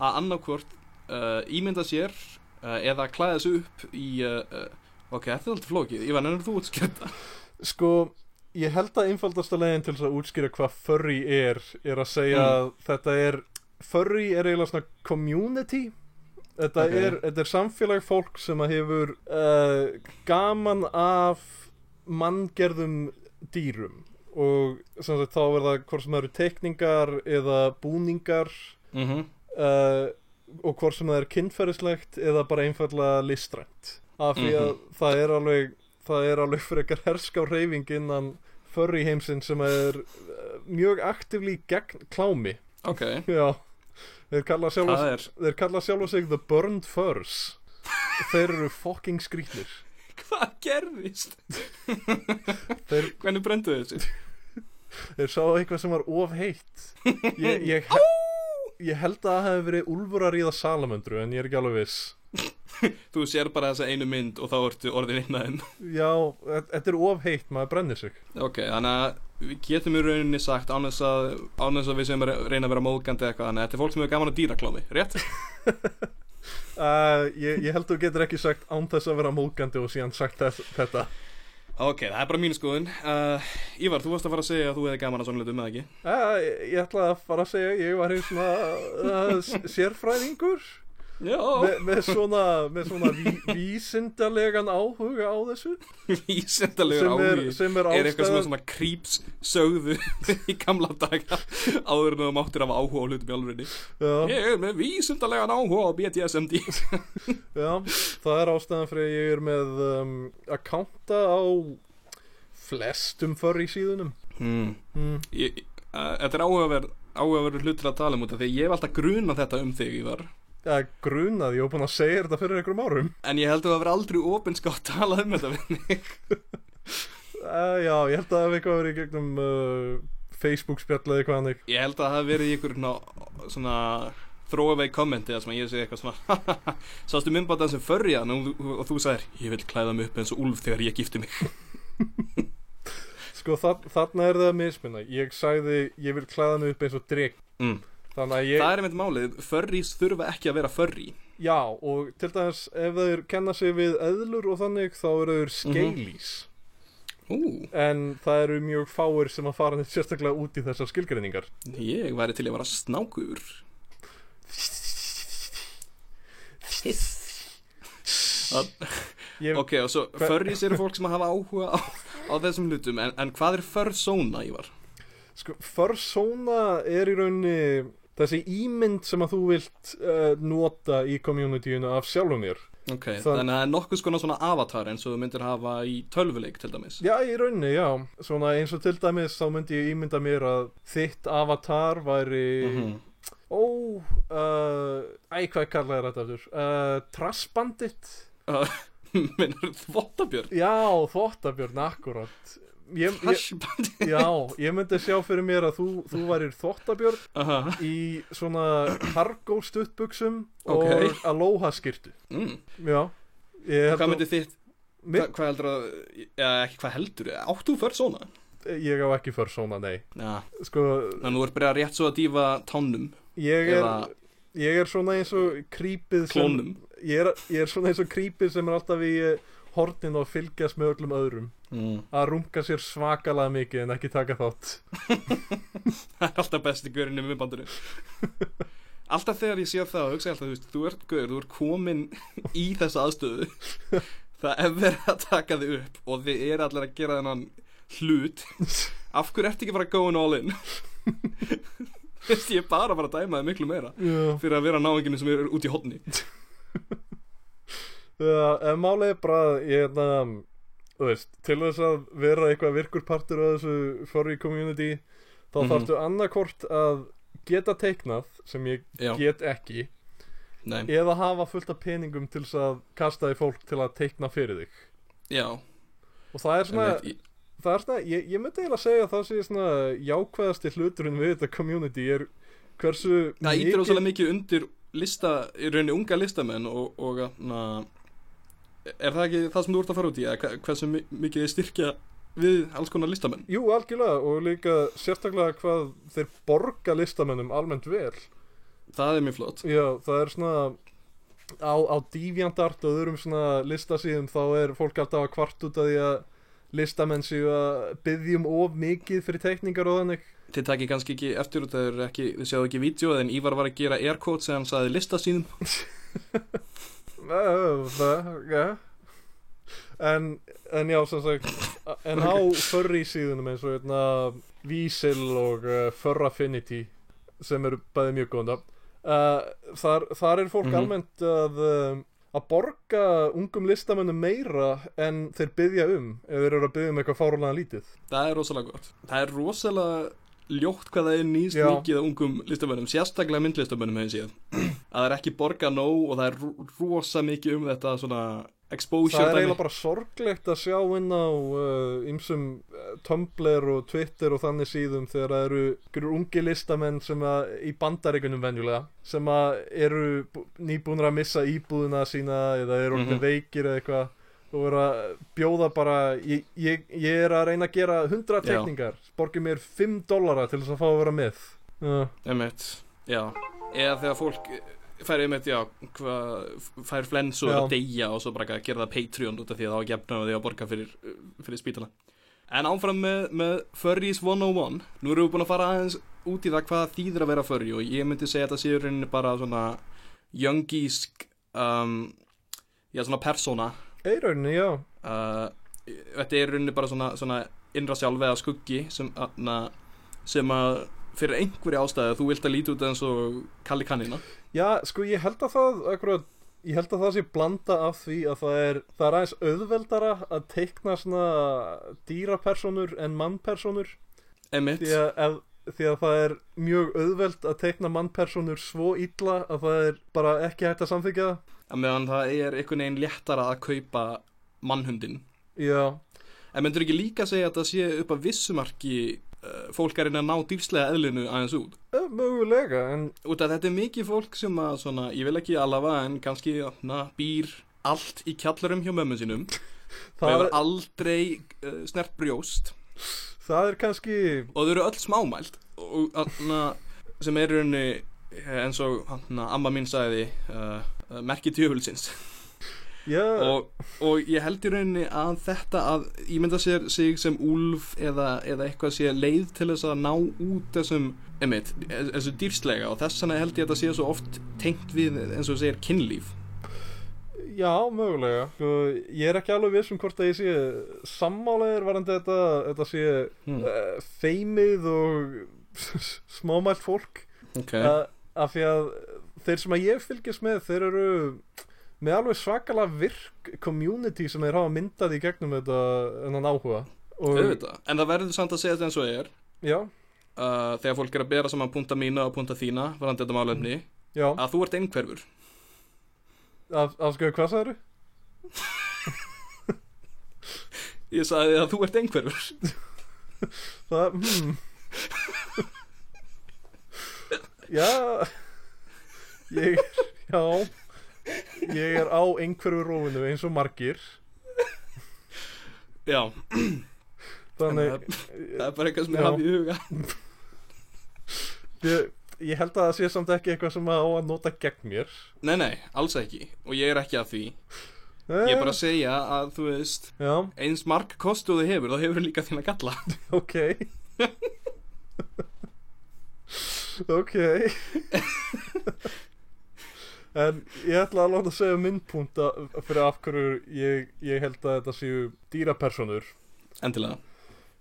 Speaker 2: að annarkvort uh, ímynda sér uh, eða klæða sig upp í, uh, uh, ok, þetta er alltaf flókið, Ívan, ennur þú útskjöta?
Speaker 3: Sko, ég held að einfaldasta leiðin til þess að útskýra hvað furry er er að segja
Speaker 2: Mm.
Speaker 3: að þetta er Furry er eiginlega svona community Þetta,
Speaker 2: Ok.
Speaker 3: er, þetta er samfélag fólk sem að hefur uh, gaman af manngerðum dýrum og sem sagt þá verða hvort sem það eru teikningar eða búningar
Speaker 2: Mm -hmm.
Speaker 3: uh, og hvort sem það er kynferðislegt eða bara einfallega listrænt af því að
Speaker 2: Mhm.
Speaker 3: það er alveg það er alveg fyrir ekkar herska á reyfing innan förri heimsinn sem er uh, mjög aktivlí gegn klámi [laughs]
Speaker 2: Ok,
Speaker 3: já, þeir kalla sjálfa
Speaker 2: það er,
Speaker 3: þeir kalla sjálfa sig the burned furs þeir eru fucking skrýtnir
Speaker 2: hvað gerðist?
Speaker 3: þeir,
Speaker 2: Hvernig brendu þessi?
Speaker 3: þeir sá eitthvað sem var of heitt ég,
Speaker 2: [laughs]
Speaker 3: ég, ég held að það hefði verið úlfur að ríða salamöndru en ég er ekki alveg viss
Speaker 2: Þú sér bara þessa einu mynd og þá ertu orðin einnaðin.
Speaker 3: Já, þe- þetta er of heitt, maður brennir sig
Speaker 2: Ok, þannig að við getum í rauninni sagt án þess að, án þess að við sem reyna að vera móðgandi eða eitthvað, þannig að þetta er fólk sem hefur gaman að dýraklámi, rétt?
Speaker 3: uh, ég, ég held þú getur ekki sagt án þess að vera mókandi og síðan sagt þess, þetta
Speaker 2: Ok, það er bara mínu skoðun. Uh, Ívar, þú varst að fara að segja að þú hefði gaman að svona litum, eða ekki?
Speaker 3: uh, Ég ég ætla að fara að segja, ég var hér svona uh, s- sérfræðingur
Speaker 2: Já.
Speaker 3: með, með svona, með svona ví, vísindalegan áhuga á þessu
Speaker 2: Ísendalegur
Speaker 3: sem er,
Speaker 2: áhugi.
Speaker 3: sem er
Speaker 2: Er eitthvað sem er
Speaker 3: ástæðan
Speaker 2: svona creeps sögðu [laughs] í gamla daga áður en þú máttir af áhuga á hlutum í alvörinni.
Speaker 3: já,
Speaker 2: Ég er með vísendalegan áhuga á
Speaker 3: [laughs]
Speaker 2: BDSMD.
Speaker 3: já, það er ástæðan fyrir að ég er með um, akkánta á flestum förr í síðunum
Speaker 2: Hmm.
Speaker 3: mm.
Speaker 2: Ég- ég- uh, Þetta er áhugaverð áhugaverður hlutur að tala um út af því að ég hef alltaf grunað þetta um þig, Ívar
Speaker 3: ja, grunað, Eh, ég var búin að segja þér þetta fyrir einhverjum árum
Speaker 2: En ég held að það verið aldrei opinskátt að tala um þetta við mig
Speaker 3: Uh, já, ég held að það hef eitthvað verið í gegnum uh, Facebook spjallið eitthvað hannig.
Speaker 2: Ég held að það hafi verið í ykkur svona, svona throwaway kommenti þar sem ég segi eitthvað svona [laughs] Sástu myndbanda sem förri hann hérna?" og, þú- og þú sagðir Ég vil klæða mig upp eins og úlf þegar ég gifti mig
Speaker 3: Sko, þa þarna er það að misminna. Ég sagði, ég vil klæða mig upp eins og dreg.
Speaker 2: mm.
Speaker 3: Þannig að ég,
Speaker 2: Það er einmitt málið, förrís þurfa ekki að vera förri
Speaker 3: já, og til dæmis ef þeir kenna sig við eðlur og þannig, þá eru þeir
Speaker 2: Mhm.
Speaker 3: skeilís.
Speaker 2: Ú,
Speaker 3: En það eru mjög fáir sem að fara neitt sérstaklega út í þessar skilgreiningar.
Speaker 2: ég væri til að vera snákur
Speaker 3: Ég,
Speaker 2: Ok, og svo
Speaker 3: Hva-
Speaker 2: förrís eru fólk sem hafa áhuga á, á þessum hlutum en, en hvað er försóna, Ívar?
Speaker 3: Sko, persona er í rauninni þessi ímynd sem að þú vilt uh, nota í communityinu af sjálfum þér.
Speaker 2: Ok,
Speaker 3: Það-
Speaker 2: þannig að það er nokkuð skona svona avatar eins og þú myndir hafa í tölvuleik til dæmis
Speaker 3: Já, í rauninni, já. Svona eins og til dæmis þá myndi ég ímynda mér að þitt avatar væri,
Speaker 2: Mhm. [laughs]
Speaker 3: ó, uh, æ, hvað kallaði þetta aftur? Uh, Trassbandit?
Speaker 2: Meinar þvottabjörn?
Speaker 3: Já, þvottabjörn, akkurat. Ég, ég,
Speaker 2: Hashbandi?
Speaker 3: já, ég myndi sjá fyrir mér að þú, þú værir þvottabjörn
Speaker 2: Aha,
Speaker 3: í svona cargo stuttbuxum
Speaker 2: Ókei.
Speaker 3: og aloha skyrtu.
Speaker 2: mm.
Speaker 3: Já. Ég held
Speaker 2: Hvað
Speaker 3: að-
Speaker 2: myndi þitt Hva,
Speaker 3: Mér,
Speaker 2: hvað heldur að, ja, ekki hvað heldur, áttu fyrr svona?
Speaker 3: ég á ekki för svona, nei
Speaker 2: Já,
Speaker 3: Sko,
Speaker 2: þannig að þú ert byrjað að rétt svo að dýfa tánum,
Speaker 3: ég er,
Speaker 2: Eða-
Speaker 3: ég er svona eins og krípið sem
Speaker 2: klónum.
Speaker 3: ég er, ég er svona eins og krípið sem er alltaf í eh, hornin og fylgjast með öllum öðrum
Speaker 2: Mm.
Speaker 3: að runga sér svakalega mikið en ekki taka þátt
Speaker 2: [laughs] Það er alltaf besti gaurinn í
Speaker 3: [laughs]
Speaker 2: miðbandinu. alltaf þegar ég sé það, hugsa ég alltaf, þú veist, þú ert gaur, þú ert komin í þessa
Speaker 3: [laughs]
Speaker 2: aðstöðu. það er verið að taka þig upp og þið er allir að gera þennan hlut. Af hverju ertu ekki bara going all
Speaker 3: [laughs]
Speaker 2: in? Þú veist, ég er bara að fara að dæma þig miklu meira
Speaker 3: Já.
Speaker 2: fyrir að vera náinginu sem er út í hotni.
Speaker 3: Uh, en málið er bara að ég hérna þú veist, til þess að vera eitthvað virkur partur af þessu furry community þá mm
Speaker 2: Mhm.
Speaker 3: -hmm. þarftu annarkort að geta teiknað sem ég
Speaker 2: Já,
Speaker 3: get ekki
Speaker 2: nei,
Speaker 3: eða hafa fullt af peningum til þess að kasta í fólk til að teikna fyrir þig
Speaker 2: já.
Speaker 3: og það er svona,
Speaker 2: einmitt,
Speaker 3: það er svona ég, ég myndi eiginlega segja að það sé svona jákvæðasti hluturinn við þetta community er hversu
Speaker 2: Það ítir ósæðlega mikið undir lista, í rauninni unga listamenn og, og na, er það ekki það sem þú ert að fara út í eða hva- hversu mi- mikið þið styrkja við alls konar listamenn
Speaker 3: Jú, algjörlega og líka sérstaklega hvað þeir borga listamennum almennt vel
Speaker 2: það er mjög flott
Speaker 3: Já, það er svona á, á Deviantart og öðrum svona listasíðum þá er fólk alltaf að kvart út af því að listamenn séu að byggjum of mikið fyrir teikningar og þannig
Speaker 2: þið takir kannski ekki eftir út þegar ekki, þið sjáðu ekki vídeo en Ívar var að gera aircoat sem hann saði listasýnum
Speaker 3: Ö, það, já en, en já, sem sagt en á furry síðunum eins og hérna Vísil og uh, Fur Affinity sem eru bæði mjög góðan uh, þar, þar er fólk
Speaker 2: Mhm.
Speaker 3: almennt að um, að borga ungum listamönnum meira en þeir byggja um ef þeir eru að byggja um eitthvað fárúlega lítið
Speaker 2: það er rosalega gott það er rosalega ljótt hvað það er nýst
Speaker 3: Já.
Speaker 2: mikið af ungum listamönnum sérstaklega myndlistamönnum hefði séð [clears throat] að það er ekki borga nóg og það er ro- rosa mikið um þetta svona exposure
Speaker 3: það er
Speaker 2: dæmi.
Speaker 3: eiginlega bara sorglegt að sjá inn á uh, ymsum uh, Tumblr og Twitter og þannig síðum þegar það eru ykkur ungi listamenn sem að, í bandaríkunum venjulega sem að eru bú- nýbúnir að missa íbúðina sína eða eru orðin
Speaker 2: Mhm.
Speaker 3: veikir eða eitthvað og eru að bjóða bara ég, ég, ég er að reyna að gera 100
Speaker 2: Já.
Speaker 3: tekningar, borgið mér 5 dollara til þess að fá að vera með uh,
Speaker 2: Emmett, já Eða þegar fólk eh, fær einmitt, já hva, fær flens og er að
Speaker 3: Já.
Speaker 2: deyja og svo bara að gera það Patreon út af því að það var gefna og því að borga fyrir, eh, fyrir spítala En áfram með, með Furries 101 Nú erum við búin að fara aðeins út í það hvað þýðir að vera furry og ég myndi segja að þetta séu í rauninni bara svona youngísk um, já, svona persóna
Speaker 3: Eirauninni, já
Speaker 2: uh, þetta er í rauninni bara svona, svona innra sjálf eða skuggi sem, na, sem að fyrir einhverja ástæðu þú vilt að líti út eins og kalli kannina
Speaker 3: Já, sko ég held að það akkurat, ég held að það sé blanda af því að það er, það er aðeins auðveldara að teikna svona dýrapersonur en mannpersonur
Speaker 2: emitt,
Speaker 3: því að, ef, því að það er mjög auðveld að teikna mannpersonur svo illa að það er bara ekki hægt að samþykja það.
Speaker 2: að meðan það er einhvern veginn léttara að kaupa mannhundin
Speaker 3: Já,
Speaker 2: en myndur ekki líka segja að það sé upp að vissumarki uh, fólk er að reyna að ná dýrslega eðlinu aðeins út
Speaker 3: eh, mögulega en
Speaker 2: út af þetta er mikið fólk sem að svona, ég vil ekki alafa en kannski na, býr allt í kjallarum hjá mömmu sínum og
Speaker 3: það,
Speaker 2: hefur aldrei uh, snert brjóst
Speaker 3: það er kannski
Speaker 2: og þau eru öll smámælt og þarna sem er í rauninni eh, eins og hana, amma mín sagði uh, uh, merki tjöfulsins
Speaker 3: já,
Speaker 2: og, og ég held í rauninni að þetta að ímynda sér sig sem úlf eða, eða eitthvað sé leið til þess að ná út þessum emitt, þessu dýrslega og þess vegna held ég að þetta sé svo oft tengt við eins og segir kynlíf
Speaker 3: já, mögulega sko, ég er ekki alveg viss um hvort að ég sé sammálegar varandi þetta, þetta sé
Speaker 2: hmm.
Speaker 3: uh, feimið og [laughs] smámælt fólk
Speaker 2: ok,
Speaker 3: uh, af því að þeir sem að ég fylgist með þeir eru með alveg svakalega virk community sem þeir hafa myndað í gegnum þetta ennan áhuga og,
Speaker 2: auðvitað en það verður samt að segja þetta eins og er
Speaker 3: já,
Speaker 2: uh, þegar fólk er að bera saman punta mína og punta þína varandi þetta málefni
Speaker 3: já,
Speaker 2: að þú ert einhverfur
Speaker 3: af, afskjöðu hvað það eru
Speaker 2: Ég sagði að þú ert einhverfur
Speaker 3: það, hmm já ég, já ég er á einhverju rófinu eins og margir
Speaker 2: já,
Speaker 3: Þannig,
Speaker 2: það er bara eitthvað sem
Speaker 3: Já.
Speaker 2: ég hafi í huga
Speaker 3: ég, ég held að það sé samt ekki eitthvað sem að á að nota gegn mér
Speaker 2: Nei, nei, alls ekki, og ég er ekki að því Ég er bara að segja að, þú veist
Speaker 3: Já,
Speaker 2: Eins mark kostu þú hefur, þá hefur þú líka þína galla
Speaker 3: ok
Speaker 2: [laughs]
Speaker 3: Ok En ég ætla alveg að segja minn punkt að- fyrir af hverju ég, ég held að þetta séu dýrapersonur
Speaker 2: Endilega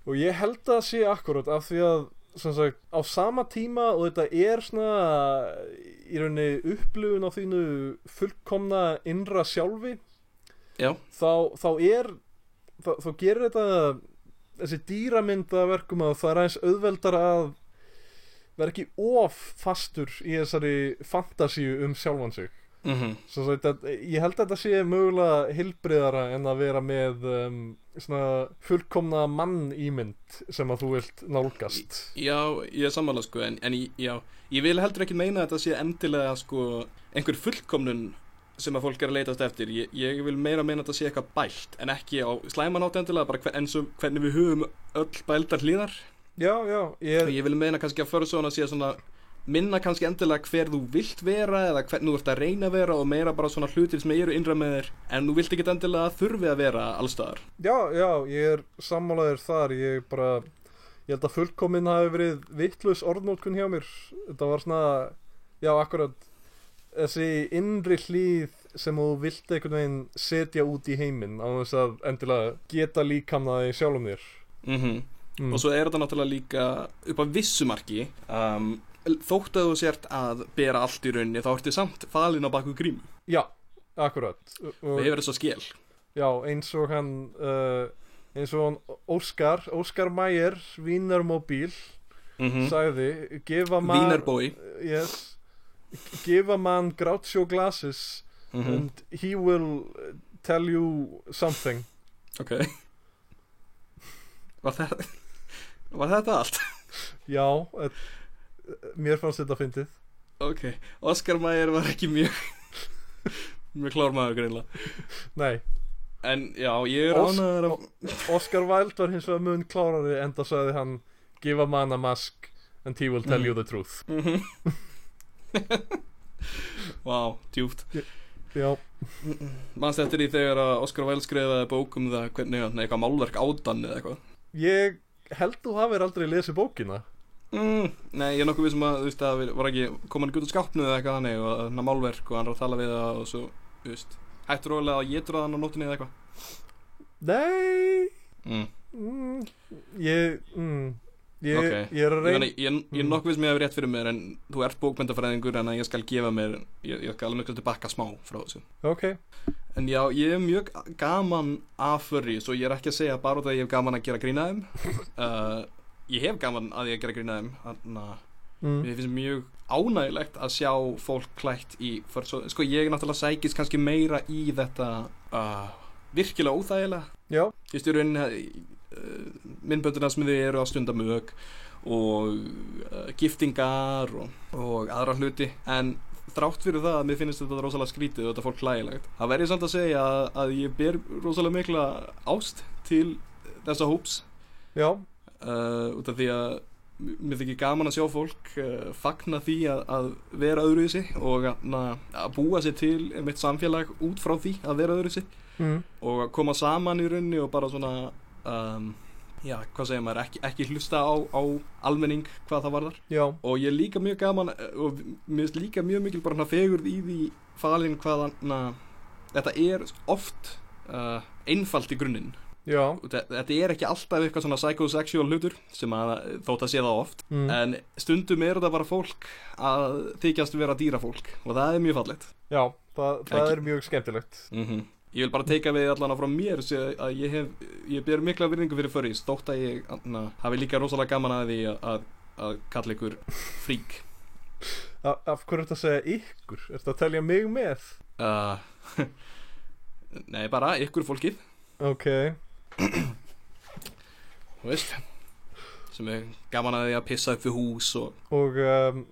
Speaker 3: Og ég held að það sé akkurat af því að sem sagt, á sama tíma og þetta er svona í rauninni upplifun á þínu fullkomna innra sjálfi
Speaker 2: Já.
Speaker 3: þá, þá er þá, þá gerir þetta þessi dýramynd að verkum að það er aðeins auðveldar að vera ekki of fastur í þessari fantasíu um sjálfan sig
Speaker 2: mm
Speaker 3: Svo sagt, að, ég held að þetta sé mögulega hilbriðara en að vera með um, svona fullkomna mann ímynd sem að þú vilt nálgast.
Speaker 2: Já, ég er sammála sko En, en ég- já, ég vil heldur ekki meina að þetta sé endilega sko Einhver fullkomnun sem að fólk er að leitast eftir Ég, ég vil meira meina að þetta sé eitthvað bælt En ekki á slæmanátt endilega Bara hver, eins og hvernig við höfum öll bæltar hlýðar
Speaker 3: Já, já,
Speaker 2: Og
Speaker 3: ég,
Speaker 2: ég vil meina kannski að Furzone sé svona minna kannski endilega hver þú vilt vera eða hvernig þú ert að reyna að vera og meira bara svona hlutir sem eru innra með þér en þú vilt ekki endilega að þurfi að vera allstaðar
Speaker 3: já, já, ég er sammálaður þar, ég bara, ég held að fullkomin hafi verið vittlaus orðnótkun hjá mér. Þetta var svona, já, akkurat, þessi innri hlýð sem þú vilt einhvern veginn setja út í heiminn á þess að endilega geta líkamnaði sjálfum þér.
Speaker 2: mm
Speaker 3: Mm.
Speaker 2: og svo er þetta náttúrulega líka upp á vissumarki um, þótt að þú sért að bera allt í rauninni þá ertu samt falin á baku grím
Speaker 3: Já, akkurat. Og-
Speaker 2: og hefur þess að skél
Speaker 3: Já, eins og hann uh, eins og hann Óskar Óskar Mæjer, Vínarmobil
Speaker 2: mm
Speaker 3: Mhm.
Speaker 2: -hmm.
Speaker 3: sagði, gefa mann
Speaker 2: Vínerbói
Speaker 3: yes, gefa mann grátsjó glasses
Speaker 2: mm
Speaker 3: and he will uh, tell you something
Speaker 2: ok [laughs] var þetta [laughs] var þetta allt
Speaker 3: Já, uh, mér fannst þetta fyndið
Speaker 2: ok, Oscar Mayer var ekki mjög mjög klár maður greinlega
Speaker 3: Nei,
Speaker 2: En já, ég er
Speaker 3: Os-
Speaker 2: ánæður að
Speaker 3: Óskar Wilde var hins vegar mun klárari enda sagði hann, gefa mann a mask and he will tell you the truth
Speaker 2: Mhm. Vá, djúpt
Speaker 3: Já,
Speaker 2: Manst eftir því þegar að Oscar Wilde skrifaði bók um það hvernig hann eitthvað málverk ádann eða eitthvað
Speaker 3: ég held þú hafir aldrei lesið bókina
Speaker 2: mm, Nei, ég er nokkuð við sem að, þú veist, að var ekki kom hann ekki út á skápnu eða eitthvað þannig og hann málverk og hann er að tala við það og svo, þú veist Hættur rólega að ég dróða hann á nóttunni eða eitthvað
Speaker 3: Nei
Speaker 2: mm.
Speaker 3: Mm, ég, mm, ég,
Speaker 2: Ok.
Speaker 3: ég er
Speaker 2: Ég,
Speaker 3: að
Speaker 2: Mm.
Speaker 3: reyna
Speaker 2: ég, ég, ég er nokkuð við sem ég hef rétt fyrir mér en þú ert bókmyndafræðingur en að ég skal gefa mér ég, ég skal alveg miklu tilbaka smá frá þessu
Speaker 3: Ok,
Speaker 2: En já, ég er mjög gaman af furries og ég er ekki að segja bara út af að ég hef gaman að gera grína þeim [laughs] uh, Ég hef gaman að ég að gera grína þeim Þannig að
Speaker 3: mm,
Speaker 2: mér finnst mjög ánægilegt að sjá fólk klætt í furries og- Sko, ég er náttúrulega sækist kannski meira í þetta uh, virkilega óþægilega
Speaker 3: já,
Speaker 2: Ég stjórn uh, minnböndina sem þið eru að stunda mög og uh, giftingar og, og aðra hluti en þrátt fyrir það að mér finnst þetta rosalega skrítið og þetta fólk hlægilegt það verður samt að segja að, að ég ber rosalega mikla ást til þessa hóps
Speaker 3: já,
Speaker 2: uh, út af því að m- mér þykir gaman að sjá fólk uh, fagna því að, að vera öðruvísi og að, að búa sér til mitt samfélag út frá því að vera öðruvísi
Speaker 3: mm,
Speaker 2: og að koma saman í rauninni og bara svona um, já, hvað segir maður, ekki, ekki hlusta á, á almenning hvað það varðar
Speaker 3: já,
Speaker 2: og ég er líka mjög gaman eh, og mér finnst líka mjög mikil bara hana fegurð í því falin hvað hana þetta er oft uh, einfalt í grunninn
Speaker 3: já,
Speaker 2: Og þe- þetta er ekki alltaf eitthvað svona psychosexual hlutur sem að þótt að sé það oft
Speaker 3: mm,
Speaker 2: en stundum er þetta bara fólk að þykjast vera dýrafólk og það er mjög fallegt
Speaker 3: já, það, það
Speaker 2: Ekki-
Speaker 3: er mjög skemmtilegt
Speaker 2: Ég vil bara teika við allan að frá mér sé að ég hef, ég ber mikla virðingu fyrir förrís þótt að ég na, hafi líka rosalega gaman að því að, að, að kalla ykkur frík
Speaker 3: A Af hverju ertu að segja ykkur? Ertu að telja mig með?
Speaker 2: uh, [laughs] Nei, bara ykkur fólkið,
Speaker 3: Ok,
Speaker 2: þú veist sem er gaman að því að pissa upp við hús og
Speaker 3: og um,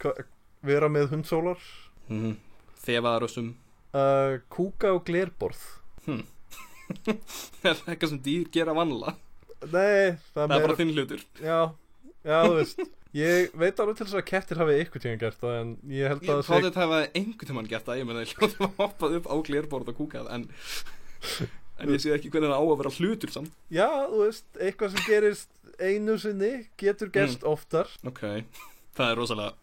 Speaker 3: hva- vera með hundsólar
Speaker 2: mm, þefaðar og sum
Speaker 3: uh, Kúka og glerborð
Speaker 2: Hmm. er það [laughs] eitthvað sem dýr gera vanlega
Speaker 3: Nei, það,
Speaker 2: það er
Speaker 3: meira-
Speaker 2: bara þinn hlutur
Speaker 3: Já, já, þú veist Ég veit alveg til þess að kettir hafi ykkur tíma gert það En ég held að
Speaker 2: ég
Speaker 3: það
Speaker 2: þáði þetta hafa einhvern tímann gert það ég meina ég hljóði að hoppað upp á glérborð og kúkað en, en ég sé ekki hvernig það á að vera hlutur samt
Speaker 3: Já, þú veist, eitthvað sem gerist einu sinni Getur gerst oftar
Speaker 2: ok, það er rosalega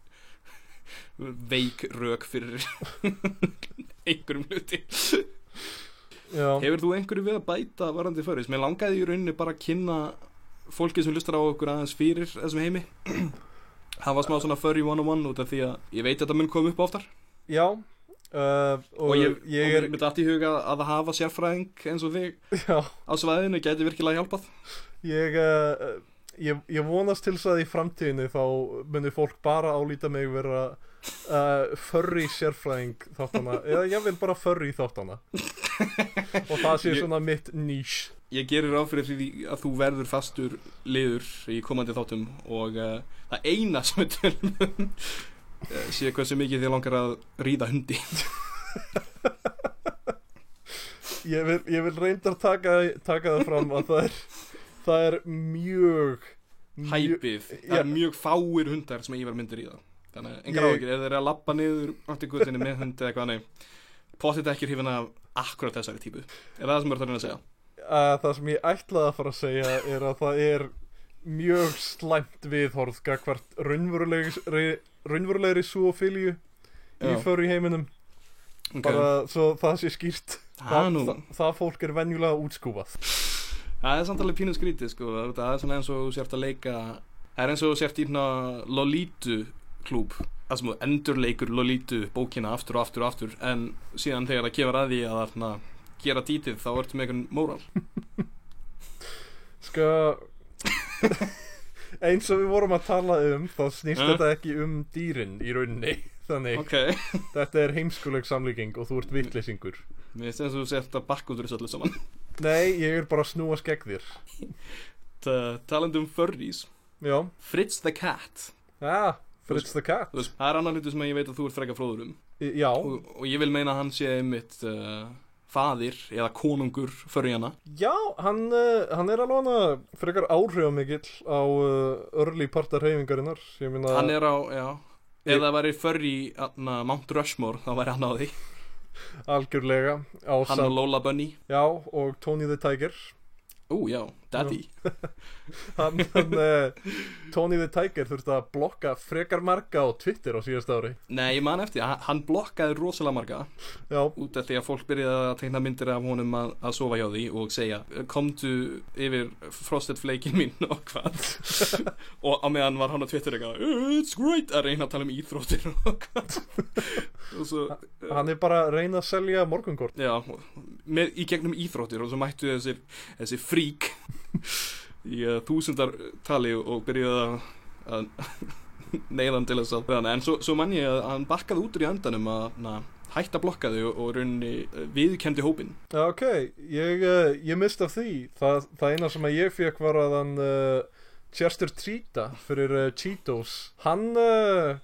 Speaker 2: veik rök fyrir [laughs] einhverjum hluti
Speaker 3: Já,
Speaker 2: hefur þú einhverju við að bæta varandi föris mér langaði í rauninni bara að kynna fólki sem lustar á okkur aðeins fyrir þessum heimi [clears throat] það var smá svona furry 101 út af því að ég veit að þetta mun koma upp oftar
Speaker 3: já uh, og,
Speaker 2: og ég,
Speaker 3: ég er
Speaker 2: og mér dætt í huga að hafa sérfræðing eins og þig
Speaker 3: Já,
Speaker 2: á svæðinu gæti virkilega hjálpað
Speaker 3: ég, uh, ég, ég vonast til þess að í framtíðinni þá munir fólk bara álíta mig vera uh, furry sérfræðing þáttana eða ég vil bara furry þáttana og það sé
Speaker 2: Ég-
Speaker 3: svona mitt nýs
Speaker 2: ég gerir ráð fyrir því að þú verður fastur liður í komandi þáttum og uh, það eina sem við tölum um uh, sé hversu mikið þið langar að ríða hundi
Speaker 3: ég vil, ég vil reyndar taka, taka það fram að það er það er mjög mjög-
Speaker 2: hæpið, það
Speaker 3: Já.
Speaker 2: er mjög fáir hundar sem ég var myndir ríða þannig að engar
Speaker 3: Ég-
Speaker 2: áhyggjur, ef þeir eru að lappa niður átti gutinni með hundi eða eitthvað, nei potið ekki hrifin af akkurat þessari típu er það það sem þú ert að reyna að segja
Speaker 3: að það sem ég ætlaði að fara að segja er að það er mjög slæmt viðhorð gagvart raunverulegri, raunverulegri súofilju í
Speaker 2: Já.
Speaker 3: förri heiminum bara
Speaker 2: okay.
Speaker 3: svo það sé skýrt
Speaker 2: Ha, nú.
Speaker 3: það, það fólk er venjulega útskúfað
Speaker 2: það er samt alveg pínu skrítið sko, það er svona eins og þú sért að leika það er eins og þú sért í hérna Lolítu klúb það sem þú endurleikur Lolítu bókina aftur og aftur og aftur en síðan þegar það kemur að því að hérna, gera dítið þá ertu með einhvern móral
Speaker 3: sko [laughs] eins og við vorum að tala um þá snýst
Speaker 2: Mm.
Speaker 3: þetta ekki um dýrin í rauninni [laughs] þannig
Speaker 2: ok,
Speaker 3: þetta er heimskuleg samlíking og þú ert vitleysingur
Speaker 2: mér finnst eins og þú sért að bakka út úr þessu öllu saman
Speaker 3: nei, ég er bara að snúa skegg þér
Speaker 2: Ta- talandi um furries
Speaker 3: já,
Speaker 2: Fritz the Cat
Speaker 3: ah, Fritz the Cat
Speaker 2: Þú veist, það er annar hlutu sem ég veit að þú ert frekar fróður um
Speaker 3: Í- já,
Speaker 2: og, og ég vil meina að hann sé einmitt uh, faðir eða konungur förjana
Speaker 3: Já, hann, uh, hann er alveg hana frekar áhrifamikill á uh, örli parta reyfingarinnar Ég meina,
Speaker 2: hann er á, já
Speaker 3: Ég-
Speaker 2: Ef það væri förri Mount Rushmore, þá væri hann á því
Speaker 3: algjörlega
Speaker 2: Hann og
Speaker 3: ásam,
Speaker 2: Lola Bunny
Speaker 3: já, og Tony the Tiger
Speaker 2: Ú, já, Daddy
Speaker 3: Hann, hann uh, Tony the Tiger þurfti að blokka frekar marga á Twitter á síðast ári
Speaker 2: Nei, ég man eftir, hann- hann blokkaði rosalega marga
Speaker 3: Já,
Speaker 2: út af því að fólk byrjaði að teikna myndir af honum að, að sofa hjá því og segja komdu yfir frosted flakein mín [laughs] og hvað [laughs] og á meðan var hann á Twitter eitthvað it's great að reyna að tala um íþróttir og hvað [laughs] og svo
Speaker 3: hann er bara að reyna að selja morgungort
Speaker 2: já, með, í gegnum íþróttir og svo mættu þessir, þessi frík í uh, þúsundar tali og byrjuði að, að [laughs] neyðan til þess að þannig, en svo, svo mann ég að hann bakkaði út úr í andanum að na, hætta blokkaði og, eh, og í rauninni viðkendi hópin
Speaker 3: Já, ok, ég, uh, ég mist af því Það, það eina sem að ég fekk var að hann uh, Chester Cheetah fyrir uh, Cheetos Hann, uh,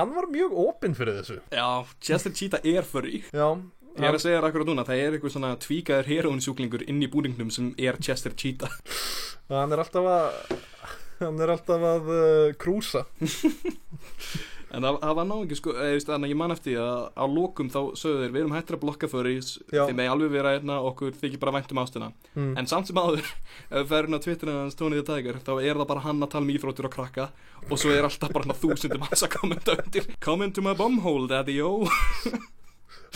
Speaker 3: hann var mjög opinn fyrir þessu
Speaker 2: já, Chester Cheetah er furry
Speaker 3: Já,
Speaker 2: ég er að segja þér akkurat núna, það er eitthvað svona tvíkaður heroinsjúklingur inn í búningnum sem er Chester Cheetah
Speaker 3: hann er alltaf að [laughs] hann er alltaf að uh, krúsa
Speaker 2: en það, það var náðingi sko, eða, veist, þannig að ég man eftir því að á lokum þá sögðu þeir, við erum hættir að blokka furries
Speaker 3: Já.
Speaker 2: þeim er alveg vera hérna, okkur þykir bara vænt um ástina
Speaker 3: mm.
Speaker 2: en samt sem áður, [laughs] ef við ferum á Twitterinu hans Tony the Tiger, þá er það bara hann að tala um íþróttir og krakka og svo er alltaf bara þúsundum hans að kommenta undir come into my bumhole daddy yo
Speaker 3: það,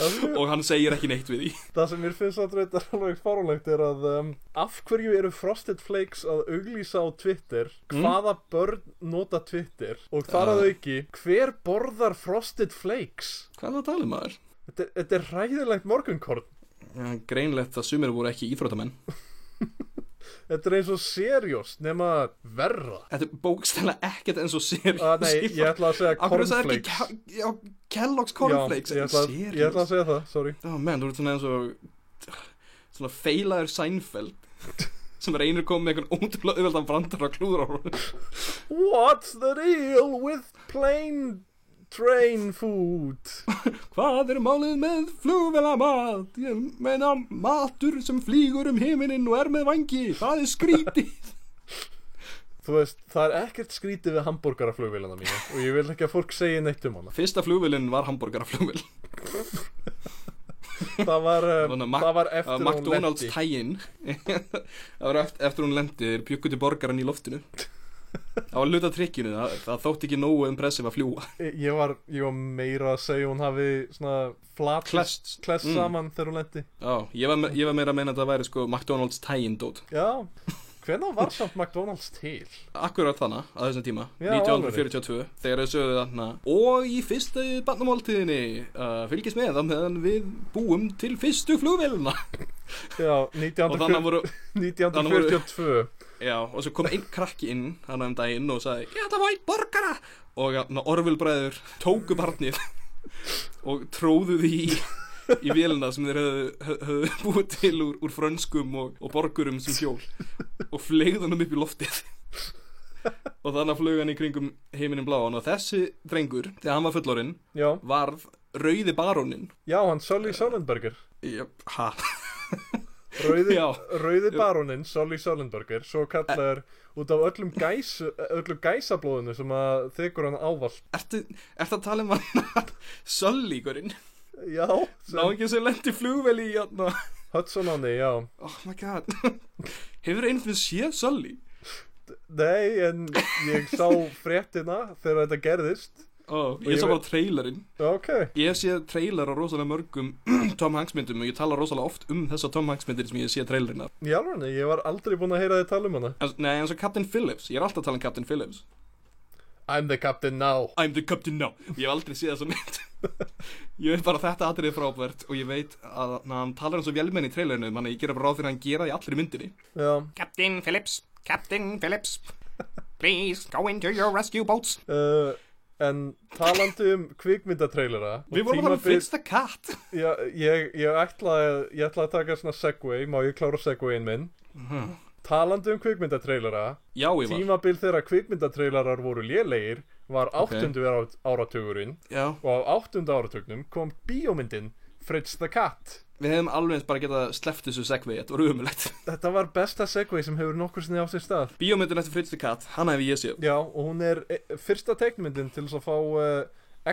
Speaker 3: sem,
Speaker 2: [laughs] og hann segir ekki neitt við því
Speaker 3: það sem mér finnst að þetta er alveg farulegt er að um, af hverju eru Frosted Flakes að auglýsa á Twitter
Speaker 2: Mm.
Speaker 3: hvaða börn nota Twitter og þar að
Speaker 2: Já.
Speaker 3: auki hver borðar Frosted Flakes
Speaker 2: hvað er það að tala um maður?
Speaker 3: þetta, þetta er ræðilegt morgunkorn
Speaker 2: Ja, greinlegt að sumir voru ekki íþróttamenn
Speaker 3: þetta er eins og seriós nema
Speaker 2: [laughs]
Speaker 3: verra
Speaker 2: Þetta er bókstæðlega ekkert eins og sér
Speaker 3: að, Ah, nei, ég ætla að segja
Speaker 2: Akkur þess að það er
Speaker 3: cornflakes
Speaker 2: ekki Ke- já, Kellogg's
Speaker 3: Já, ég ætla,
Speaker 2: cornflakes
Speaker 3: ég ætla að segja það, sorry
Speaker 2: Já, menn, þú ert svona eins og Svona feilaður Seinfeld Sem reynir að koma með einhvern ótrúlega auðveldan brandar og klúður á honum.
Speaker 3: What's the deal with plain Train food
Speaker 2: Hvað er málið með flugvelamat? Ég meina matur sem flýgur um himinin og er með vangi. Það er skrítið.
Speaker 3: Þú veist, það er ekkert skrítið við hambúrgaraflugvélana mína og ég vil ekki að fólk segja neitt um hana
Speaker 2: [laughs] Fyrsta flugvélinn var hamburgeraflugvél.
Speaker 3: Það var, um,
Speaker 2: Svona Mac-
Speaker 3: það
Speaker 2: Það
Speaker 3: var
Speaker 2: var
Speaker 3: eftir hún
Speaker 2: McDonald's
Speaker 3: lendi
Speaker 2: tægin. [laughs] það var eftir, eftir hún lendi, þeir bjuggu til borgaran í loftinu. Það var hluta trikkinu, það, það þótt ekki nógu impressive að fljúa.
Speaker 3: Eh, ég var, ég var meira að segja hún hafi svona flat
Speaker 2: Klest.
Speaker 3: kless
Speaker 2: Mm.
Speaker 3: saman þegar hún lendi
Speaker 2: Já, ég var, me- ég var meira að meina að það væri sko McDonald's tægin dót.
Speaker 3: Já, hvernig var samt McDonald's til?
Speaker 2: Akkurat þannig á þessum tíma,
Speaker 3: Já,
Speaker 2: 1942, þegar þau sögðu þarna Og í fyrsta barnamáltíðinni, uh, fylgist með að meðan við búum til fyrstu flugvélina
Speaker 3: Já,
Speaker 2: Og þannig
Speaker 3: 1940
Speaker 2: voru,
Speaker 3: 1942
Speaker 2: já, og svo kom einn krakki inn, hann um daginn og sagði Ég ætla að fá einn borgara Og na, orvilbræður tóku barnið [laughs] og tróðu því í, í vélina sem þeir höfðu, höfðu búið til úr, úr frönskum og, og borgurum sem hjól og fleigðu hann upp í loftið og þannig flög hann í kringum heiminin bláan og þessi drengur, þegar hann var fullorinn
Speaker 3: Já,
Speaker 2: varð rauði barónin
Speaker 3: já, hann Solly Solenberger
Speaker 2: Jöp, ha,
Speaker 3: Rauði,
Speaker 2: Já.
Speaker 3: rauði baróninn Solly Solenberger, svo kallaður út af öllum, gæs, öllum gæsablóðinu sem að þykur hann ávallt
Speaker 2: ertu, ertu að tala um hann [laughs] Söllíkurinn,
Speaker 3: Já,
Speaker 2: ná
Speaker 3: sem
Speaker 2: ekki sem lendi flugvel í hann
Speaker 3: Hudson áni, já
Speaker 2: oh my god [laughs] hefur einhvern séð Sölli?
Speaker 3: Nei, en ég sá fréttina þegar þetta gerðist
Speaker 2: Oh, ég
Speaker 3: ég
Speaker 2: sá
Speaker 3: veit-
Speaker 2: bara trailerinn
Speaker 3: Ok,
Speaker 2: Ég hef séð trailer á rosalega mörgum [clears throat] Tom Hanks myndum og ég tala rosalega oft um þessa Tom Hanks myndir sem ég sé trailerina
Speaker 3: í alveg, ég var aldrei búinn að heyra þið tala um hana
Speaker 2: en, Nei, eins og Captain Phillips, ég er alltaf að tala um Captain Phillips
Speaker 3: I'm the captain now
Speaker 2: I'm the captain now Ég hef aldrei séð þessa mynd [laughs] Ég veit bara að þetta atrið frábært og ég veit að na, hann talar eins og velmenn í trailerinu þannig að ég gera bara ráð fyrir að hann gera í allri myndinni
Speaker 3: Já,
Speaker 5: Captain Phillips, Captain Phillips, please go into your rescue boats.
Speaker 3: uh, en talandi um kvikmyndatrailera og
Speaker 2: Við vorum að tala um
Speaker 3: tímabil-
Speaker 2: Fritz the Cat [laughs]
Speaker 3: Já, ég, ég ætla, ég ætla að taka svona segway, má ég klára segwayin minn
Speaker 2: Mhm.
Speaker 3: Talandi um kvikmyndatrailera
Speaker 2: Já, ég var
Speaker 3: Tímabil þegar kvikmyndatrailerar voru lélegir var áttundu okay. áratugurinn
Speaker 2: Já,
Speaker 3: og á áttundu áratugnum kom bíómyndin Fritz the Cat
Speaker 2: við hefum alveg eins bara getað sleppt þessu segvei, þetta var umulegt
Speaker 3: Þetta var besta segway sem hefur nokkur sinni á sér stað
Speaker 2: Bíómyndin eftir Fritz the Cat, hana hef ég séð
Speaker 3: Já, og hún er e, fyrsta teiknmyndin til þess að fá uh,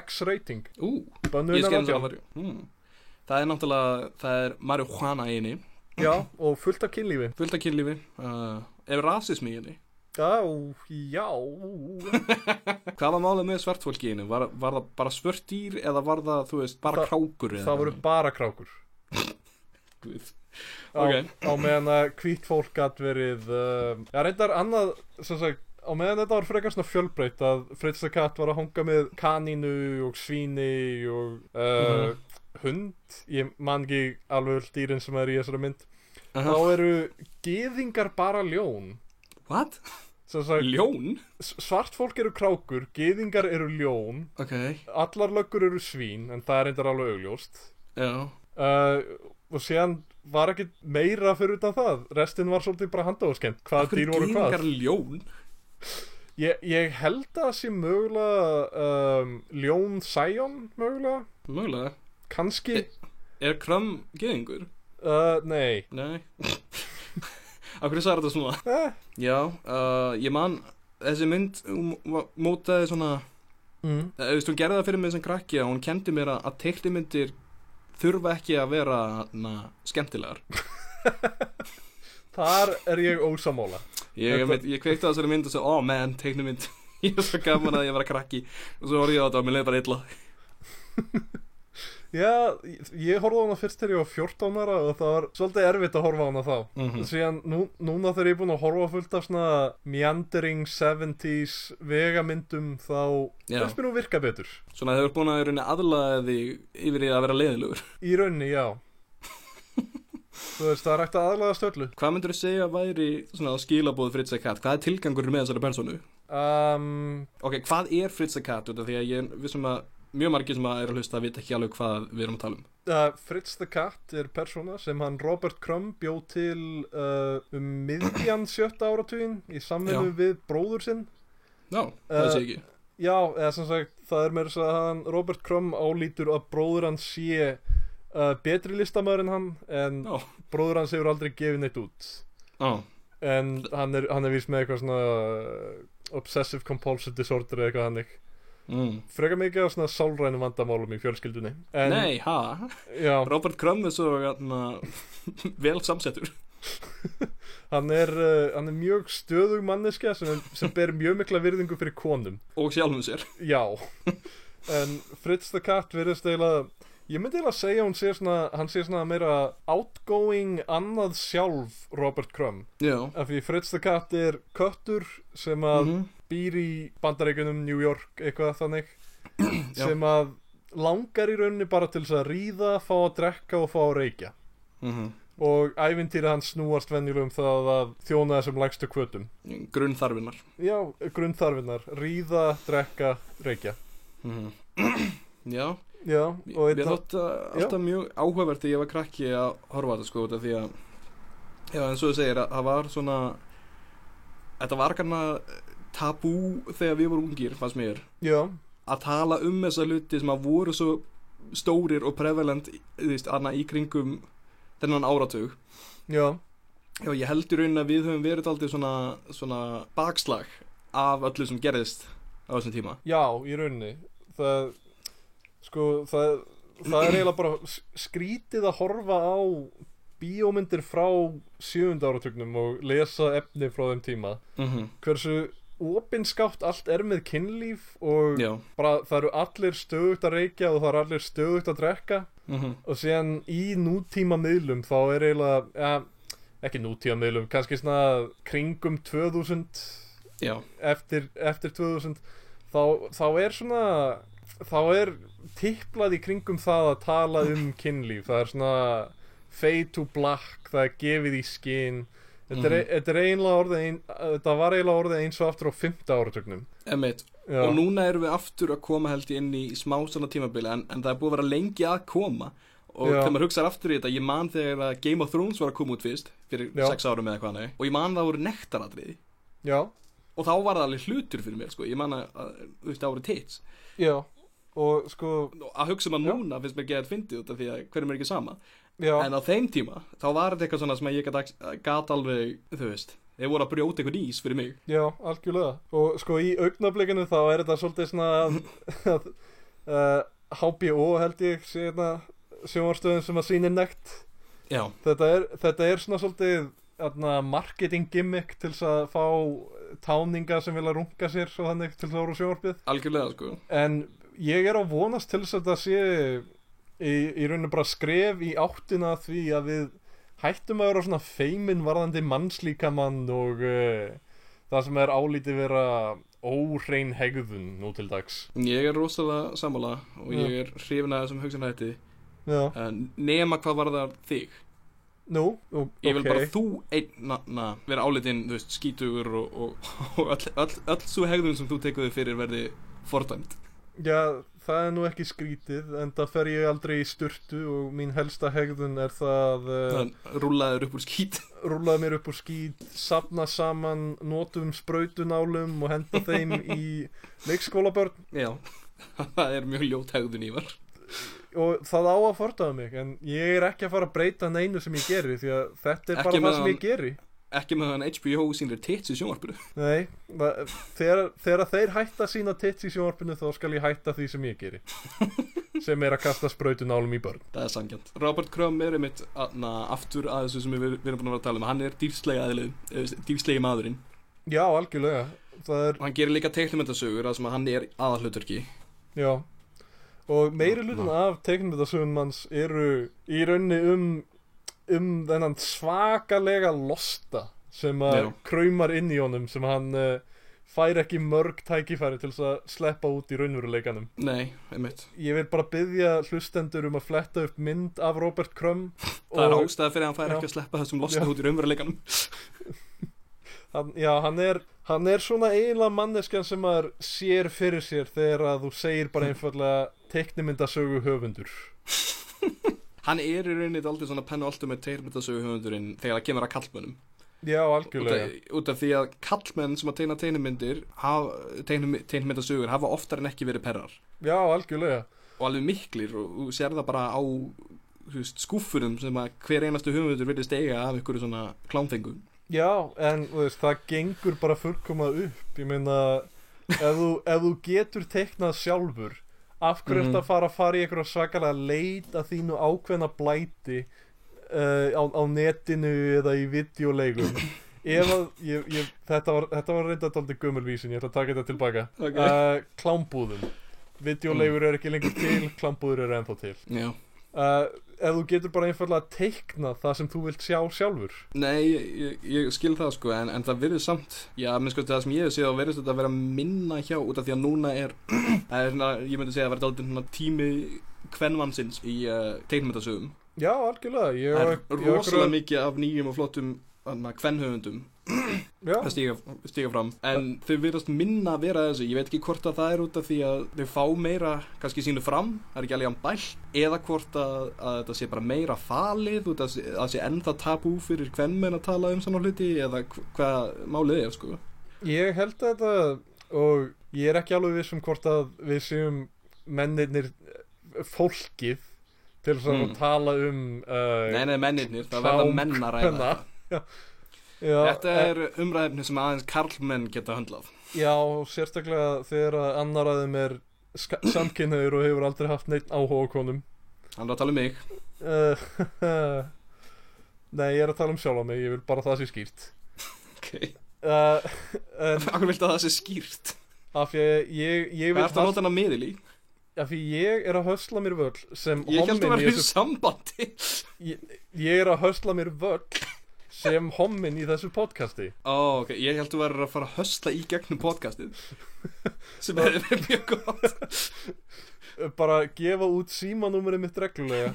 Speaker 3: X-rating
Speaker 2: Ú,
Speaker 3: Bönnuð
Speaker 2: ég
Speaker 3: innan
Speaker 2: skemmt að það
Speaker 3: 18.
Speaker 2: var hmm. Það er náttúrulega, það er marihuana í henni
Speaker 3: Já, og fullt af kynlífi
Speaker 2: fullt af kynlífi uh, ef rasismi í henni
Speaker 3: Já, já
Speaker 2: hvað var málið með svartfólki í henni var, var það bara svört dýr eða var það þú veist bara
Speaker 3: Það-
Speaker 2: krákur eða
Speaker 3: Það voru bara krákur
Speaker 2: Guð.
Speaker 3: á,
Speaker 2: Ok.
Speaker 3: á meðan að hvít fólk gætt verið um, já, reyndar annað sem sagt, á meðan þetta var frekar svona fjölbreytt að Fritz the Cat var að hanga með kanínu og svíni og uh,
Speaker 2: Mhm.
Speaker 3: hund ég man ekki alveg öll dýrin sem er í þessari mynd
Speaker 2: Aha.
Speaker 3: þá eru geðingar bara ljón
Speaker 2: what?
Speaker 3: sem sagt,
Speaker 2: ljón?
Speaker 3: s- svart fólk eru krákur geðingar eru ljón
Speaker 2: ok,
Speaker 3: allar löggur eru svín en það er reyndar alveg augljóst
Speaker 2: já
Speaker 3: uh, og síðan var ekkit meira fyrir utan það restin var svolítið bara handóðskend hvað dýr voru hvað
Speaker 2: ljón?
Speaker 3: ég, ég held að það sé mögulega um, ljón Sion mögulega
Speaker 2: mögulega
Speaker 3: kannski
Speaker 2: E- er kram geðingur?
Speaker 3: uh, nei
Speaker 2: nei [laughs] af hverju sagði þetta svona?
Speaker 3: eh,
Speaker 2: já, uh, ég man þessi mynd hún var- mótaði svona
Speaker 3: mm,
Speaker 2: Þú veist, hún gerði það fyrir mig sem krakki og hún kendi mér að, að teiknimyndir þurfa ekki að vera na, skemmtilegar.
Speaker 3: þar er ég ósamála
Speaker 2: Ég,
Speaker 3: Þetta-
Speaker 2: veit, ég kveikti á þessari mynd og sagði, oh man, teiknimynd, [laughs] ég er svo gaman að ég vera krakki og svo horfði ég á þetta og mér leiði bara illa.
Speaker 3: já, ég, ég horfði á hana fyrst þegar ég var 14 ára og það var svolítið erfitt að horfa á hana þá
Speaker 2: Mhm.
Speaker 3: síðan nú, núna þegar ég er búin að horfa fullt af svona meandering 70s vegamyndum þá
Speaker 2: Já.
Speaker 3: finnst mér nú virka betur
Speaker 2: Svona þau eru búin að í rauninni aðlaða þig yfir í að vera leiðilegur.
Speaker 3: Í rauninni, já
Speaker 2: [laughs]
Speaker 3: Þú veist, það er hægt að aðlaga stöllu
Speaker 2: Hvað myndur þú segja að væri svona skilabóð Fritz the Cat? Hvað er tilgangur með þessari personu?
Speaker 3: um,
Speaker 2: Ok, hvað er Fritz the Cat? Út af Því að ég er vissum að mjög margir sem að er að hlusta vita ekki alveg hvað við erum að tala um.
Speaker 3: uh, Fritz the Cat er persóna sem hann Robert Crumb bjó til uh, um miðjan sjötta áratugin í samvinnu
Speaker 2: Já.
Speaker 3: við bróður sinn
Speaker 2: Já, það
Speaker 3: Eh,
Speaker 2: sé ég ekki.
Speaker 3: Já, eða sem sagt, það er meira svo að hann, Robert Crumb álítur að bróður hans sé uh, betri listamaður en hann en
Speaker 2: Já.
Speaker 3: bróður hans hefur aldrei gefið neitt út
Speaker 2: Já,
Speaker 3: en hann er, hann er vís með eitthvað svona uh, obsessive compulsive disorder eða eitthvað hannig
Speaker 2: mm.
Speaker 3: frekar mikið á svona sálrænum vandamálum í fjölskyldunni en,
Speaker 2: Nei, ha?
Speaker 3: já,
Speaker 2: Robert Crumb er svo na, [laughs] vel samsettur
Speaker 3: hann er, uh, hann er mjög stöðug manneskja sem, sem ber mjög mikla virðingu fyrir konum
Speaker 2: og sjálfum sér
Speaker 3: já en Fritz the Cat virðist eiginlega ég myndi eiginlega segja að hún sé svona hann sé svona meira outgoing annað sjálf Robert Crumb
Speaker 2: Já
Speaker 3: af því Fritz the Cat er köttur sem að
Speaker 2: Mhm.
Speaker 3: býr í bandaríkunum New York eitthvað þannig
Speaker 2: Já.
Speaker 3: sem að langar í rauninni bara til þess að ríða, fá að drekka og fá að reykja
Speaker 2: Mhm.
Speaker 3: og ævintýri hans snúast venjulegum það að þjóna þessum lægstu kvötum
Speaker 2: Grunnþarfinnar
Speaker 3: já, grunnþarfinnar, ríða, drekka, reykja
Speaker 2: Mhm. [clears throat] Já,
Speaker 3: já, og
Speaker 2: Mér
Speaker 3: einn
Speaker 2: þótt uh, alltaf mjög áhugavert þegar ég var krakki að horfa á þetta sko út af því að já, eins og þú segir að það var svona þetta var kannan tabú þegar við vorum ungir fannst mér
Speaker 3: já,
Speaker 2: að tala um þessa hluti sem að voru svo stórir og prevalent í- þú veist, annað í kringum þennan áratug
Speaker 3: já,
Speaker 2: já, ég heldur raunin að við höfum verið aldrei svona, svona bakslag af öllu sem gerðist á þessum tíma
Speaker 3: já, í rauninni það, sko það, það er eiginlega bara s- skrítið að horfa á bíómyndir frá sjöfunda áratugnum og lesa efni frá þeim tíma
Speaker 2: mm
Speaker 3: Mhm. hversu opinskátt allt er með kynlíf og
Speaker 2: já,
Speaker 3: bara það eru allir stöðugt að reykja og það eru allir stöðugt að drekka
Speaker 2: mm
Speaker 3: og síðan í nútíma miðlum þá er eiginlega, ja, ekki nútíma miðlum, kannski svona kringum 2000
Speaker 2: já,
Speaker 3: eftir, eftir 2000 þá, þá er svona þá er tiplað í kringum það að tala um kynlíf það er svona fade to black það er gefið í skinn þetta, er,
Speaker 2: Mhm.
Speaker 3: þetta er eiginlega orðið ein, þetta var eiginlega orðið eins og aftur á 15 áratugnum
Speaker 2: emitt
Speaker 3: Já,
Speaker 2: og núna erum við aftur að koma held ég inn í smá svona tímabili en, en það er búið að vera lengi að koma og
Speaker 3: Já.
Speaker 2: þegar maður hugsaði aftur í þetta, ég man þegar að Game of Thrones var að koma út fyrst fyrir
Speaker 3: Já.
Speaker 2: sex árum eða hvað hann er og ég man það voru nektaratriði
Speaker 3: já,
Speaker 2: og þá var það alveg hlutur fyrir mér sko. ég man að, að þú veist, það voru tits
Speaker 3: já og sko,
Speaker 2: Og að hugsa maður núna finnst mér að geta fyndið út af því að hverjum er ekki sama
Speaker 3: já,
Speaker 2: en á þeim tíma, þá var þetta eitthvað svona sem að ég gat, gat alveg, þú veist þeir voru að brjóta eitthvað ís fyrir mig
Speaker 3: já, algjörlega og sko í augnablikinu þá er þetta svolítið svona að, að, uh, HBO held ég sé hérna sjónvarstöðin sem að sýnir nekt
Speaker 2: já,
Speaker 3: þetta er, þetta er svona svolítið atna, marketing gimmick til þess að fá táninga sem vilja runga sér svo þannig til þóru sjónvarpið
Speaker 2: algjörlega sko
Speaker 3: en ég er að vonast til þess að þetta sé í, í rauninu bara skref í áttina að því að við hættum að vera svona feimin varðandi mannslíkamann og uh, það sem er álítið vera óhrein hegðun nú til dags
Speaker 2: ég er rosalega sammála og
Speaker 3: Já.
Speaker 2: ég er hrifin að þessum hugsanætti
Speaker 3: Já,
Speaker 2: En nema hvað var það þig
Speaker 3: nú, ó-
Speaker 2: ég vil
Speaker 3: ok.
Speaker 2: bara þú einn na, na, vera álitinn, þú veist, skítugur og, og, og öll, öll, öll svo hegðun sem þú tekuði fyrir verði fordæmt
Speaker 3: Já, það er nú ekki skrítið en það fer ég aldrei í sturtu og mín helsta hegðun er það uh,
Speaker 2: þannig rúlaður upp úr skít
Speaker 3: rúlaði mér upp úr skýt, safna saman notum sprautunálum og henda þeim í leikskólabörn
Speaker 2: já, [laughs] það er mjög ljót hegðun ívar
Speaker 3: og það á að fortaða mig en ég er ekki að fara að breyta neinu sem ég geri því að þetta er
Speaker 2: Ekki
Speaker 3: bara það
Speaker 2: meðan-
Speaker 3: sem ég geri
Speaker 2: ekki með hann HBO sínir tits í sjónvarpinu
Speaker 3: Nei, það, þegar, þegar þeir hætta sína tits í sjónvarpinu þá skal ég hætta því sem ég
Speaker 2: [laughs]
Speaker 3: geri sem er að kasta sprautunálum í börn
Speaker 2: það er sangjant Robert Crumb er einmitt na, aftur að þessu sem við, við erum búin að vera að tala um hann er dýrslega, aðlið, dýrslega maðurinn
Speaker 3: Já, algjörlega það er
Speaker 2: og hann gerir líka teiknumendasögur þar sem að hann er aðalhluturki
Speaker 3: Já Og meiri
Speaker 2: Ná,
Speaker 3: hlutin af teiknumyndasögum hans eru í raunni um um þennan svakalega losta sem að
Speaker 2: Já.
Speaker 3: kraumar inn í honum sem hann uh, fær ekki mörg tækifæri til þess að sleppa út í raunveruleikanum.
Speaker 2: nei, einmitt
Speaker 3: Ég vil bara byggja hlustendur um að fletta upp mynd af Robert Crumb
Speaker 2: það er
Speaker 3: og
Speaker 2: ástæða fyrir að hann fær ekki að sleppa þessum losna
Speaker 3: Já.
Speaker 2: út í raunveruleikanum
Speaker 3: hann, já, hann, er, hann er svona eiginlega manneskjan sem maður sér fyrir sér þegar að þú segir
Speaker 2: Hm.
Speaker 3: bara einfallega teiknumyndasögu höfundur.
Speaker 2: Hann er í rauninni aldrei svona penna alltaf með teirmyndasögu höfundurinn þegar það kemur að kallmönnum
Speaker 3: já,
Speaker 2: út
Speaker 3: algjörlega
Speaker 2: af, út af því að kallmenn sem að teina teinumyndir teinumyndasögur hafa oftar en ekki verið perrar
Speaker 3: Já, algjörlega
Speaker 2: og alveg miklir og þú sér það bara á þú veist, skúffurum sem að hver einastu höfundur vilja stega af ykkur svona klámfengu
Speaker 3: Já, en þú veist, það gengur bara fullkomað upp Ég meina, ef þú, ef þú getur teiknað sjálfur Af hverju ertu
Speaker 2: Mhm.
Speaker 3: að fara að fara í einhverja svakalega leit að þínu ákveðna blæti uh, á, á netinu eða í
Speaker 2: [clears throat]
Speaker 3: videoleigum Ef að, ég, ég, þetta var, þetta var reynda daldið gömulvísin, ég ætla að taka þetta tilbaka
Speaker 2: Ok.
Speaker 3: uh, Klámbúðum Videoleigur eru ekki lengur til, klámbúður eru ennþá til
Speaker 2: Já.
Speaker 3: uh, Ef þú getur bara einfallega teiknað það sem þú vilt sjá sjálfur
Speaker 2: Nei, ég, ég skil það sko en, en það virðist samt, já, minn sko það sem ég hef séð þá virðist þetta að vera minna hjá út af því að núna er, [clears throat] það er svona, ég myndi segja að verða aldrei svona tími kvenvansins í uh, teinmyndasögum
Speaker 3: Já, algjörlega ég
Speaker 2: Það
Speaker 3: á-
Speaker 2: er
Speaker 3: ég á
Speaker 2: rosalega
Speaker 3: einhverja-
Speaker 2: mikið af nýjum og flottum þarna, kvenhöfundum
Speaker 3: Já,
Speaker 2: að stíga, stíga fram en þau virðast minna að vera þessu ég veit ekki hvort að það er út af því að þau fá meira kannski sínu fram, það er ekki alveg án bæl eða hvort að, að þetta sé bara meira falið út af því- að það sé ennþá tabú fyrir hvernmenn að tala um svona hluti eða hv- hvað málið er sko
Speaker 3: ég held að þetta og ég er ekki alveg viss um hvort að við séum mennirnir eh, fólkið til þess að
Speaker 2: Mm.
Speaker 3: tala um uh,
Speaker 2: nei, nei, mennirnir, það
Speaker 3: klám
Speaker 2: verða menn að ræða
Speaker 3: kvenna. [laughs]
Speaker 2: þetta.
Speaker 3: já,
Speaker 2: þetta
Speaker 3: eh,
Speaker 2: er umræðefni sem aðeins karlmenn geta höndlað
Speaker 3: Já, sérstaklega þegar að annar aðeim er [clears throat] samkynnaður og hefur aldrei haft neitt áhuga á konum
Speaker 2: hann er að tala um mig
Speaker 3: uh, [laughs] Nei, ég er að tala um sjálf á mig, ég vil bara að það sé skýrt
Speaker 2: ok,
Speaker 3: uh, [laughs] en
Speaker 2: hvað viltu að það sé skýrt
Speaker 3: af því að ég, ég
Speaker 2: hvað
Speaker 3: vil
Speaker 2: er það að nota hana miðil í
Speaker 3: af því ég er að hösla mér völl sem
Speaker 2: ég held að
Speaker 3: homminn í
Speaker 2: vera í
Speaker 3: þessu
Speaker 2: sambandi
Speaker 3: ég, ég er að hösla mér völl sem homminn í þessu podcasti
Speaker 2: Ó, ok, ég held að þú verður að fara að hösla í gegnum
Speaker 3: [laughs]
Speaker 2: podcastið sem hefði verið mjög gott
Speaker 3: bara gefa út símanúmerið mitt reglulega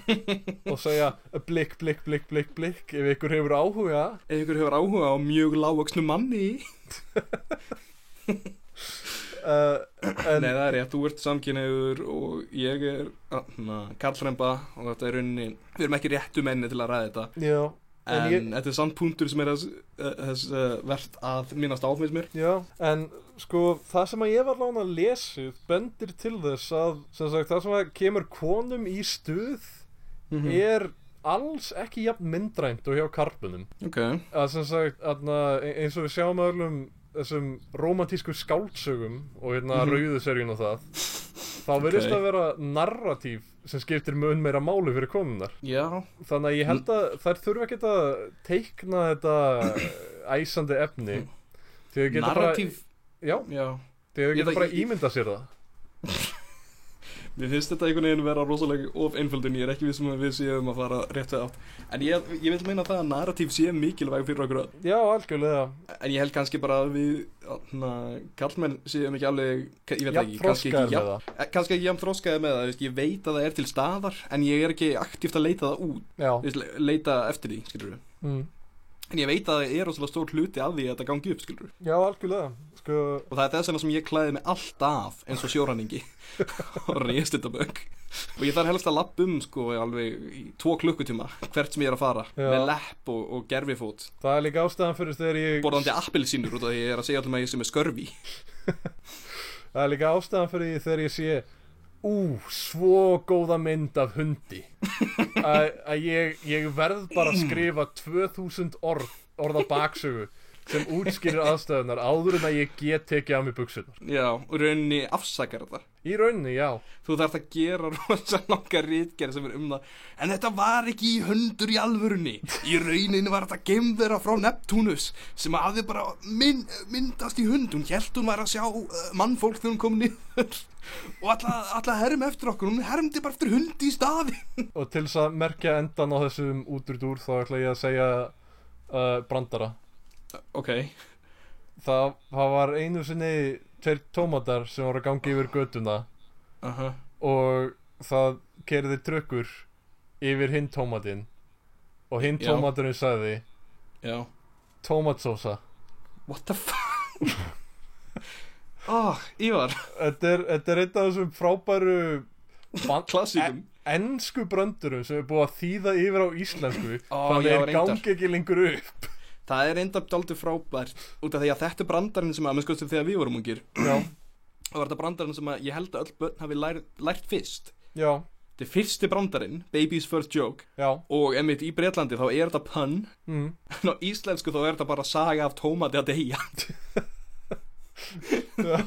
Speaker 3: og segja blikk, blikk, blikk, blikk, blikk ef ykkur hefur áhuga
Speaker 2: Ef ykkur hefur áhuga á mjög lágvaksnu manni
Speaker 3: uh, en
Speaker 2: Nei, það er rétt, þú ert samkynniður og ég er ah, na, karlremba og þetta er rauninni Við erum ekki réttu menni til að ræða þetta
Speaker 3: já, En
Speaker 2: En
Speaker 3: ég-
Speaker 2: þetta er samt punktur sem er þess, eh, þess uh, verðt að minnast áfins mér
Speaker 3: já, en sko það sem að ég var lána að lesið bendir til þess að sem sagt, það sem að kemur konum í stuð
Speaker 2: Mhm.
Speaker 3: er alls ekki jafn myndrænt og hjá karpunum
Speaker 2: Ok,
Speaker 3: að sem sagt, aðna, eins og við sjáum á öllum þessum romantísku skáldsögum og hérna
Speaker 2: Mhm.
Speaker 3: rauðu seríun og það þá verðist
Speaker 2: Ok.
Speaker 3: að vera narratív sem skiptir mun meira máli fyrir konunar
Speaker 2: já,
Speaker 3: þannig að ég held að
Speaker 2: Mm.
Speaker 3: þær þurfa ekki að teikna þetta eh, æsandi efni
Speaker 2: Hm.
Speaker 3: þegar þau geta
Speaker 2: narratív
Speaker 3: bara já,
Speaker 2: Já,
Speaker 3: þegar
Speaker 2: Ég
Speaker 3: þau geta
Speaker 2: veit
Speaker 3: bara
Speaker 2: ekki-
Speaker 3: ímynda sér það
Speaker 2: Mér finnst þetta einhvern veginn vera rosalega of einföldun, ég er ekki vissum að við séum að fara réttu átt En ég, ég vil meina það að narratív sé mikilvæg fyrir okkur öll
Speaker 3: já, algjörlega
Speaker 2: En ég held kannski bara að við hana, kallmenn séum ekki alveg ég veit
Speaker 3: já,
Speaker 2: ekki, kannski ekki
Speaker 3: þroskaður með
Speaker 2: jafn,
Speaker 3: það
Speaker 2: eh, kannski ekki jafn þróskaði með það, þú veist, ég veit að það er til staðar en ég er ekki aktíft að leita það út þú
Speaker 3: já,
Speaker 2: veist, le- leita eftir því, skilur við
Speaker 3: mm.
Speaker 2: en ég veit að það er rosalega stór hluti af því að þetta gangi upp, skilur við
Speaker 3: já, algjörlega sko,
Speaker 2: og það er þess vegna sem ég klæði mig alltaf eins og sjóræningi [laughs] og reist þetta bök og ég þarf helst að lappa um sko alveg í tvo klukkutíma hvert sem ég er að fara
Speaker 3: Já.
Speaker 2: með lepp og, og gerfifót
Speaker 3: það er líka ástæðan fyrir þegar ég
Speaker 2: borðandi appelsínur út af því að ég er að segja allum að ég sem er skörfi
Speaker 3: Það er líka ástæðan fyrir því þegar ég sé Ú, svo góða mynd af hundi Að að ég, ég verð bara að skrifa 2000 orð, orð á baksögu sem útskýrir aðstæðunar áður en að ég get tekið á mig buksunar
Speaker 2: Já, og rauninni afsakar þetta
Speaker 3: Í rauninni, já
Speaker 2: þú þarft að gera [laughs] rosa langa rítgerð sem er um það en þetta var ekki í hundur í alvörunni í rauninni var þetta gemvera frá Neptunus sem hafði bara mynd, myndast í hund hún held hún var að sjá uh, mannfólk þegar hún kom niður og alltaf herm eftir okkur hún hermdi bara eftir hundi í staði
Speaker 3: Og til þess að merkja endan á þessum útrúdúr þá ætla ég að segja uh, brandara
Speaker 2: ok,
Speaker 3: það, það var einu sinni tveir tómatar sem voru að gangi yfir götuna
Speaker 2: aha
Speaker 3: og það kerði trökkur yfir hinn tómatinn og hinn
Speaker 2: Já.
Speaker 3: tómaturinn sagði
Speaker 2: já,
Speaker 3: tómatsósa
Speaker 2: what the fuck [laughs] ah, Ívar,
Speaker 3: þetta er, þetta er einn af þessum frábæru e- ban-
Speaker 2: [laughs] klassíkum
Speaker 3: ensku bröndurum sem er búið að þýða yfir á íslensku
Speaker 2: Ó, já,
Speaker 3: þannig er
Speaker 2: reyndar.
Speaker 3: gangi ekki lengur upp
Speaker 2: Það er enda daldur frábært út af því að þetta er brandarinn sem að menn skoðum þegar við vorum ungir
Speaker 3: Já,
Speaker 2: og var þetta brandarinn sem að ég held að öll börn hafi lært, lært fyrst
Speaker 3: já,
Speaker 2: Þetta er fyrsti brandarinn, Baby's First Joke
Speaker 3: já
Speaker 2: og einmitt í Breitlandi þá er þetta pun
Speaker 3: mm.
Speaker 2: en á íslensku þá er þetta bara saga af tómati að deyja
Speaker 3: Já.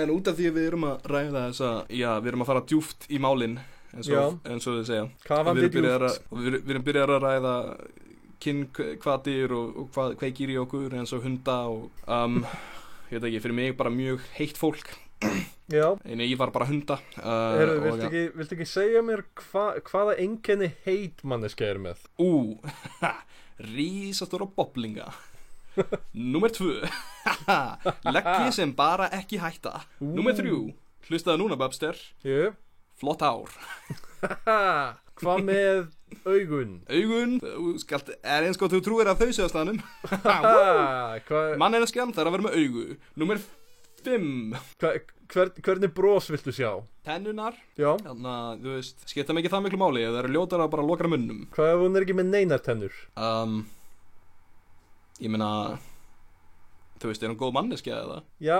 Speaker 2: En út af því að við erum að ræða þessa, já, við erum að fara djúft í málinn eins og, eins og þau segja Og við
Speaker 3: Kafandi
Speaker 2: erum byrjar að, og við, við erum byrjar að ræða kynkvatir og, og hvað kveikir í okkur eins og hunda og um, ég veit ekki, fyrir mig bara mjög heitt fólk
Speaker 3: Já,
Speaker 2: en ég var bara hunda uh,
Speaker 3: Herru,
Speaker 2: og-
Speaker 3: viltu ekki, viltu ekki segja mér hva, hvaða engenni heit manneska er með?
Speaker 2: Ú, rísastóra
Speaker 3: [laughs]
Speaker 2: boblinga Númer tvö Leggji sem bara ekki hætta Númer þrjú, hlustaðu núna Babster
Speaker 3: Jú,
Speaker 2: Flott ár
Speaker 3: ha, hvað með augun?
Speaker 2: Augun, þú skalt, er eins gott þú trúir að þau séu að staðnum
Speaker 3: Ha, hva,
Speaker 2: Mann er að skemmt þar að vera með augu Númer fimm
Speaker 3: hva, hver, hvernig bros viltu sjá?
Speaker 2: Tennunar,
Speaker 3: Já,
Speaker 2: þannig að þú veist, skipta mig ekki það miklu máli Það eru ljótar að bara lokra munnum
Speaker 3: hvað ef hún er ekki með neinartennur?
Speaker 2: um, Ég meina, þú veist, er hann góð manneskja eða?
Speaker 3: Já,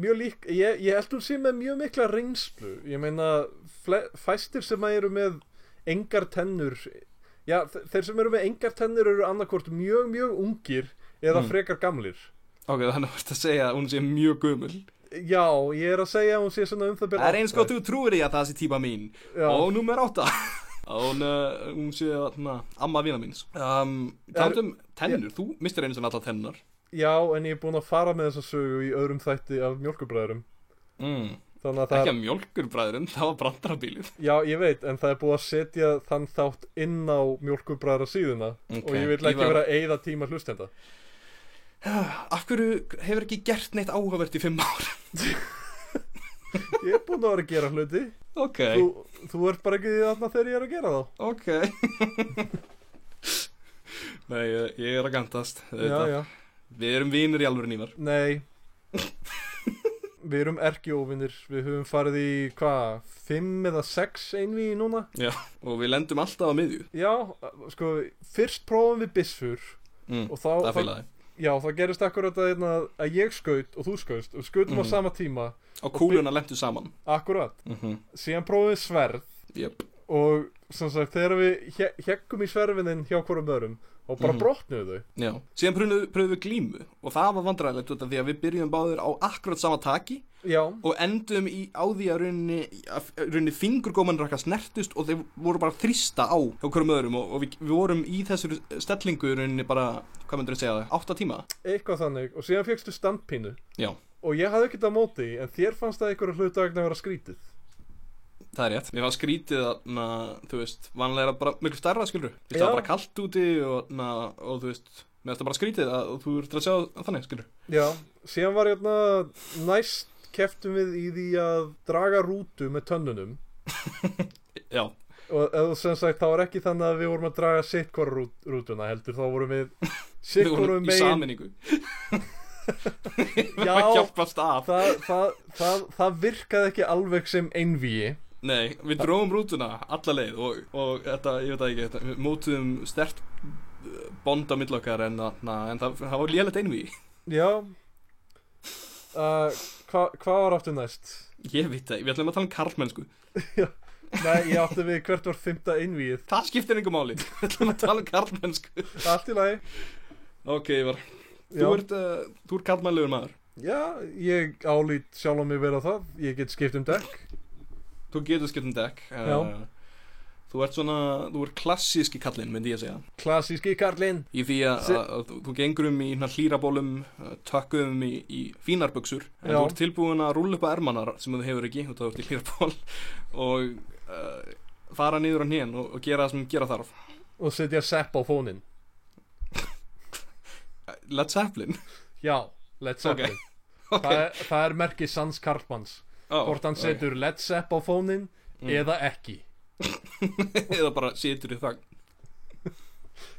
Speaker 3: mjög lík, ég, ég held hún sé með mjög mikla reynslu. Ég meina, fle, fæstir sem að eru með engar tennur, já, þe- þeir sem eru með engar tennur eru annarkvort mjög, mjög ungir eða
Speaker 2: Mm.
Speaker 3: frekar gamlir.
Speaker 2: Ok, þannig að þú ert að segja að hún sé mjög gömul
Speaker 3: Já, ég er að segja að hún sé svona um það byrja.
Speaker 2: Það er eins gott þú trúir í að það sé típa mín
Speaker 3: Já,
Speaker 2: Og nummer átta [laughs] Að Hún, uh, hún sé na, amma vina míns um, Taldum tennur, þú mistir einu sem alltaf tennar
Speaker 3: já, en ég er búin að fara með þessa sögu í öðrum þætti af mjölkubræðurum.
Speaker 2: mm.
Speaker 3: Þannig að það,
Speaker 2: Ekki að mjölkur bræðurinn, það var brandarabilið
Speaker 3: já, ég veit, en það er búið að setja þann þátt inn á mjölkubræðara síðuna
Speaker 2: Ok,
Speaker 3: og ég vil
Speaker 2: ég
Speaker 3: ekki
Speaker 2: var-
Speaker 3: vera að eyða tíma hlustenda.
Speaker 2: [sighs] Af hverju hefur ekki gert neitt áhugavert í fimm ár?
Speaker 3: Ég er búin að vera að gera hluti.
Speaker 2: [laughs] Ok,
Speaker 3: þú, þú ert bara ekki þarna þegar ég er að gera þá
Speaker 2: ok [laughs] Nei, ég, ég er að gantast
Speaker 3: Já, já,
Speaker 2: Við erum vinir í alvöru nývar
Speaker 3: nei Við erum erkióvinir Við höfum farið í, hvað, fimm eða sex einvíi núna
Speaker 2: Og við lendum alltaf á miðju
Speaker 3: Já, sko, fyrst prófum við byssur
Speaker 2: mm.
Speaker 3: og þá,
Speaker 2: Það
Speaker 3: þá
Speaker 2: fylgði
Speaker 3: já, það gerist akkurat að, hérna að ég skaut og þú skaust og við skautum
Speaker 2: Mhm.
Speaker 3: á sama tíma
Speaker 2: Og kúluna lendu saman
Speaker 3: Akkurat,
Speaker 2: mm -hmm.
Speaker 3: síðan prófum við sverð
Speaker 2: Jöp,
Speaker 3: og sem sagt, þegar við he heggum í sverfininn hjá hvorum öðrum og bara
Speaker 2: Mhm.
Speaker 3: brotnuðu þau
Speaker 2: já Síðan pröfum, pröfum við glímu Og það var vandræðilegt út af því að við byrjum báður á akkurat sama taki
Speaker 3: Já,
Speaker 2: Og endum í, á því að rauninni, að rauninni fingurgóman rakka snertust Og þeir voru bara að þrýsta á hjá hverjum öðrum Og, og við, við vorum í þessari stellingu í rauninni bara Hvað myndir þú segja það? Átta tíma?
Speaker 3: eitthvað þannig og síðan fegstu standpínu
Speaker 2: Já,
Speaker 3: og ég hafði ekkert að móti því, en þér fannst það einhverju hluta vegna að vera skrítið
Speaker 2: það er rétt Mér var skrítið að, na, þú veist, vanlega er það bara miklu starra skilur Þú veist,
Speaker 3: Já.
Speaker 2: það var bara kalt úti og, na, og þú veist Mér finnst það bara skrítið að, og þú ert að segja þannig skilur
Speaker 3: já, síðan var hérna næst keftum við í því að draga rútu með tönnunum
Speaker 2: Já,
Speaker 3: og eða sem sagt þá var ekki þannig að við vorum að draga sitt hvora rú, rútuna heldur þá vorum [laughs] við sitt
Speaker 2: við
Speaker 3: hvora
Speaker 2: vorum í
Speaker 3: megin
Speaker 2: saminningu
Speaker 3: [laughs] Já.
Speaker 2: að hjálpast að
Speaker 3: það, það, það, það virkaði ekki alveg sem einvíi
Speaker 2: Nei, við dróum rútuna alla leið og, og þetta, ég veit það ekki, þetta, við mótuðum stert bond á milli okkar en, að- na, en það, það var lélegt einví
Speaker 3: já uh, hvað hva var aftur næst?
Speaker 2: Ég veit það, við ætlum að tala um karlmennsku
Speaker 3: nei, ég átti við hvert var fymta einvíið
Speaker 2: Það skiptir engum máli, [laughs] við ætlum að tala um karlmennsku
Speaker 3: allt í lagi
Speaker 2: Ok, Ívar,
Speaker 3: Já.
Speaker 2: þú ert, uh, þú ert karlmennlegur maður
Speaker 3: Já, ég álít sjálf á mig vera það, ég get skipt um dekk
Speaker 2: Þú getur skipt um dekk eh,
Speaker 3: Já.
Speaker 2: Þú ert svona, þú ert klassíski kallinn, myndi ég að segja
Speaker 3: Klassíski karlinn
Speaker 2: Í því að,
Speaker 3: Se-
Speaker 2: að, að þú- þú gengur um í hérna hlýrabólum, uh, tökkum í, í fínarbuxur En
Speaker 3: Já.
Speaker 2: þú ert tilbúin að rúlla upp að ermanar sem þú hefur ekki, þú ert í hlýraból [laughs] Og uh, fara niður á hnén og, og gera það sem gera þarf
Speaker 3: og setja sepp á fóninn
Speaker 2: Uh, Led Zeppelin,
Speaker 3: Já, Led Zeppelin
Speaker 2: [laughs] ok
Speaker 3: það, er, það er merki Sans Karlmanns
Speaker 2: Ó,
Speaker 3: Hvort hann
Speaker 2: ok. Mm.
Speaker 3: setur Led Zepp á fóninn eða ekki
Speaker 2: [laughs] Eða bara situr í þag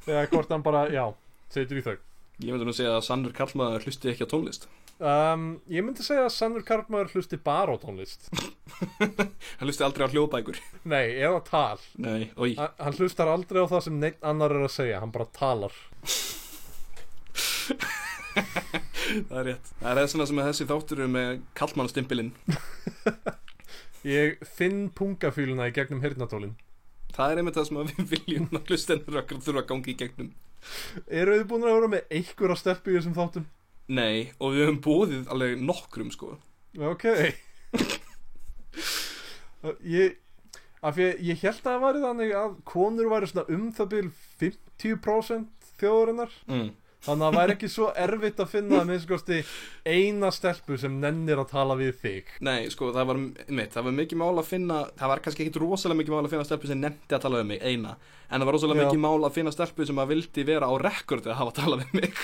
Speaker 3: Eða hvort hann bara, já, setur í þau
Speaker 2: Ég myndi nú segja að sannur kallmaður hlusti ekki á tónlist
Speaker 3: um, Ég myndi segja að Sannur Karlmaður hlusti bara á tónlist
Speaker 2: Hann hlusti aldrei á hljóðbækur
Speaker 3: Nei, eða tal
Speaker 2: Nei, oi,
Speaker 3: Ah. Hann hann hlustar aldrei á það sem neitt annar er að segja, hann bara talar
Speaker 2: það er rétt Það er þess vegna sem að þessi þáttur er með kallmannstimbilinn
Speaker 3: Ég finn pungafíluna í gegnum hirnatólin
Speaker 2: Það er einmitt það sem að við [laughs] viljum að hlustendur okkar þurfa að gangi í gegnum
Speaker 3: Eru þið búin að vera með einhverja steppu í þessum þáttum?
Speaker 2: Nei, og við höfum bóðið alveg nokkrum sko
Speaker 3: Ok [laughs] Ég Af því að ég held að það væri þannig að konur væri svona um það bil 50% þjóðurinnar
Speaker 2: mm.
Speaker 3: Þannig að það væri ekki svo erfitt að finna að minnst kosti eina stelpu sem nennir að tala við þig
Speaker 2: Nei, sko, það var, mitt, það var mikið mál að finna Það var kannski ekkit rosalega mikið mál að finna stelpu sem nefndi að tala við mig, eina En það var rosalega
Speaker 3: Já.
Speaker 2: mikið mál að finna stelpu sem að vildi vera á rekordi að hafa talað við mig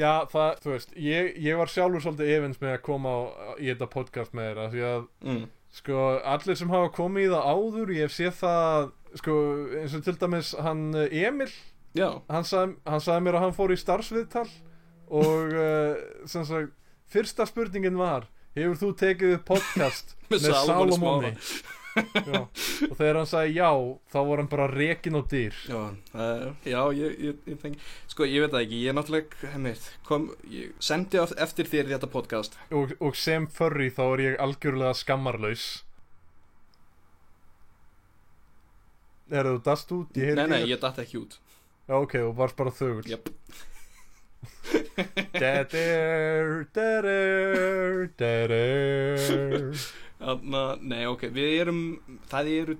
Speaker 3: Já, það, þú veist, ég, ég var sjálfur svolítið efins með að koma á, í þetta podcast með þeirra Því að,
Speaker 2: mm.
Speaker 3: sko, allir sem hafa komið í það áður, ég hef séð það, sko, eins og til dæmis hann eh, Emil
Speaker 2: Já,
Speaker 3: hann sagði, hann sagði mér að hann fór í starfsviðtal
Speaker 2: [laughs]
Speaker 3: og uh, sem sagt, fyrsta spurningin var hefur þú tekið upp podcast
Speaker 2: [laughs] Með
Speaker 3: með
Speaker 2: Salómoni
Speaker 3: Salomoni Já, og þegar hann sagði já þá voru hann bara rekin og dýr
Speaker 2: já, uh, já ég, ég, ég tengi Sko, ég veit það ekki, ég er náttúrulega mitt, kom, ég Sendi af- eftir þér þetta podcast
Speaker 3: og, og sem förri þá er ég algjörlega skammarlaus Er þú dast út?
Speaker 2: Nei,
Speaker 3: Ég heyrði
Speaker 2: nei,
Speaker 3: ekki-
Speaker 2: ég datt ekki út
Speaker 3: Já, ok, og varst bara þögul
Speaker 2: Jöp.
Speaker 3: [laughs] Deadir, deadir, deadir
Speaker 2: Þarna, nei, ok, við erum, það eru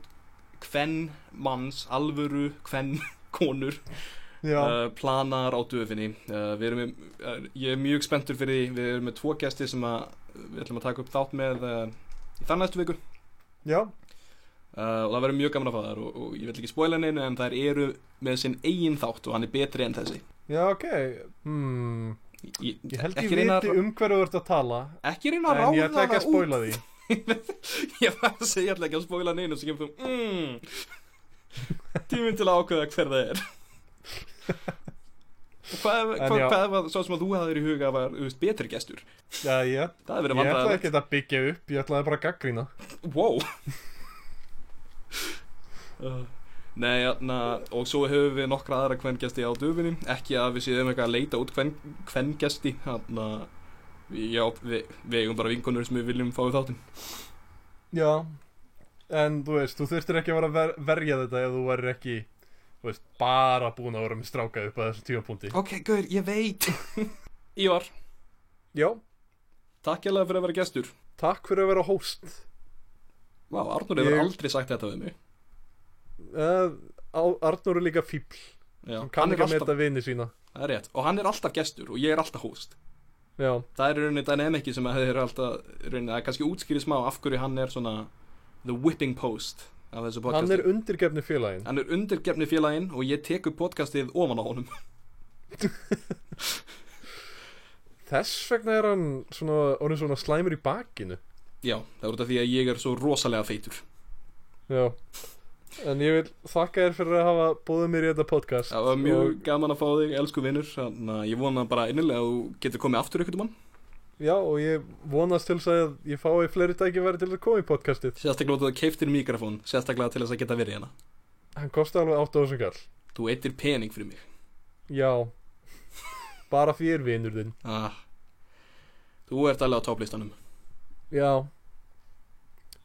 Speaker 2: kvenn manns, alvöru kvenn konur
Speaker 3: Já,
Speaker 2: uh, planar á döfinni uh, við erum, með, uh, ég er mjög spenntur fyrir því við erum með tvo gæsti sem að við ætlum að taka upp þátt með uh, í þann næstu viku uh,
Speaker 3: já
Speaker 2: og það verður mjög gaman að fá þær og, og ég vil ekki spoila neinu en þær eru með sinn eigin þátt og hann er betri en þessi
Speaker 3: Já, ok. Hmm.
Speaker 2: ég,
Speaker 3: Ég held ég
Speaker 2: ekki reyna,
Speaker 3: viti um hverju þú ert að tala,
Speaker 2: ekki reyna að
Speaker 3: en ég
Speaker 2: ráða
Speaker 3: ætla ekki að
Speaker 2: það út.
Speaker 3: spoila því.
Speaker 2: [laughs] ég var að segja ég ætla ekki að spoila neinu sem kemur þú mm, [laughs] tíminn til að ákveða hver
Speaker 3: [laughs]
Speaker 2: það er Og hvað,
Speaker 3: En
Speaker 2: hvað,
Speaker 3: já.
Speaker 2: hvað var svo sem að þú hafðir í huga var þú veist, betri gestur
Speaker 3: Já, já.
Speaker 2: [laughs] það hefur verið
Speaker 3: Ég ætla
Speaker 2: vandræðalegt.
Speaker 3: ekki að byggja upp, ég ætlaði bara að gaggrína.
Speaker 2: Wow Uh, Nei, na, og svo höfum við nokkra aðra kvengjasti á döfinni Ekki að við séum eitthvað að leita út kven, kvengjasti Þannig að já, við, við eigum bara vinkonur sem við viljum fá í þáttinn
Speaker 3: Já, en þú veist, þú þurftir ekki að vera að ver verja þetta ef þú værir ekki, þú veist, bara búin að vera með stráka upp að þessum tímapunkti.
Speaker 2: Ok, gaur, ég veit [laughs] Ívar,
Speaker 3: Já,
Speaker 2: takk hérlega fyrir að vera gestur
Speaker 3: takk fyrir að vera host.
Speaker 2: Vá, Arnur hefur
Speaker 3: Ég-
Speaker 2: aldrei sagt þetta við mig
Speaker 3: Uh, Arnur er líka fíbl,
Speaker 2: já,
Speaker 3: hann
Speaker 2: hann er
Speaker 3: kann ekki að
Speaker 2: alltaf,
Speaker 3: meta vini sína.
Speaker 2: það er rétt Og hann er alltaf gestur og ég er alltaf host
Speaker 3: Já,
Speaker 2: Það er í rauninni dynamiki sem að þeir eru alltaf í rauninni, það er kannski útskýri smá af hverju hann er svona the whipping post af þessu podcasti
Speaker 3: hann er undirgefni félagin.
Speaker 2: Hann er undirgefni félaginn og ég tek upp podcastið ofan á honum
Speaker 3: Þess vegna er hann svona, orðin svona slæmur í bakinu.
Speaker 2: [laughs] Já, það er út af því að ég er svo rosalega feitur
Speaker 3: Já En ég vil þakka þér fyrir að hafa búið mér í þetta podcast
Speaker 2: Það var mjög gaman að fá þig, elsku vinnur Þannig að ég vona bara innilega að þú getur komið aftur ykkur mann
Speaker 3: og, Já og ég vonast til þess að ég fái fleiri tækifæri til að koma í podcastið
Speaker 2: Sérstaklega út af þú keiftir mikrofón Sérstaklega til þess að geta verið hérna
Speaker 3: Hann kosti alveg 8000 kall
Speaker 2: Þú eittir pening fyrir mig
Speaker 3: Já [laughs] Bara fyrir vinur þinn
Speaker 2: ah. Þú ert alveg á topplistanum
Speaker 3: Já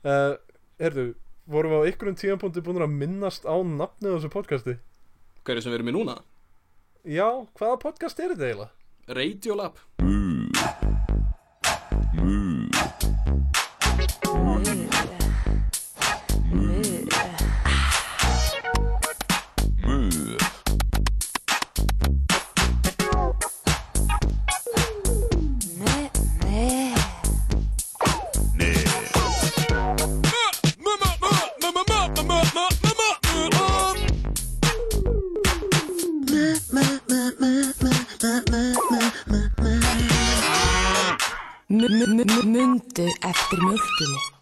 Speaker 3: uh, Herðu, vorum við á einhverjum tíðanpunkti búin að minnast á nafnið á þessu podcasti?
Speaker 2: Hverju sem við erum í núna?
Speaker 3: Já, hvaða podcast er þetta eiginlega?
Speaker 2: Radiolab
Speaker 6: Mundu eftir mjölkinni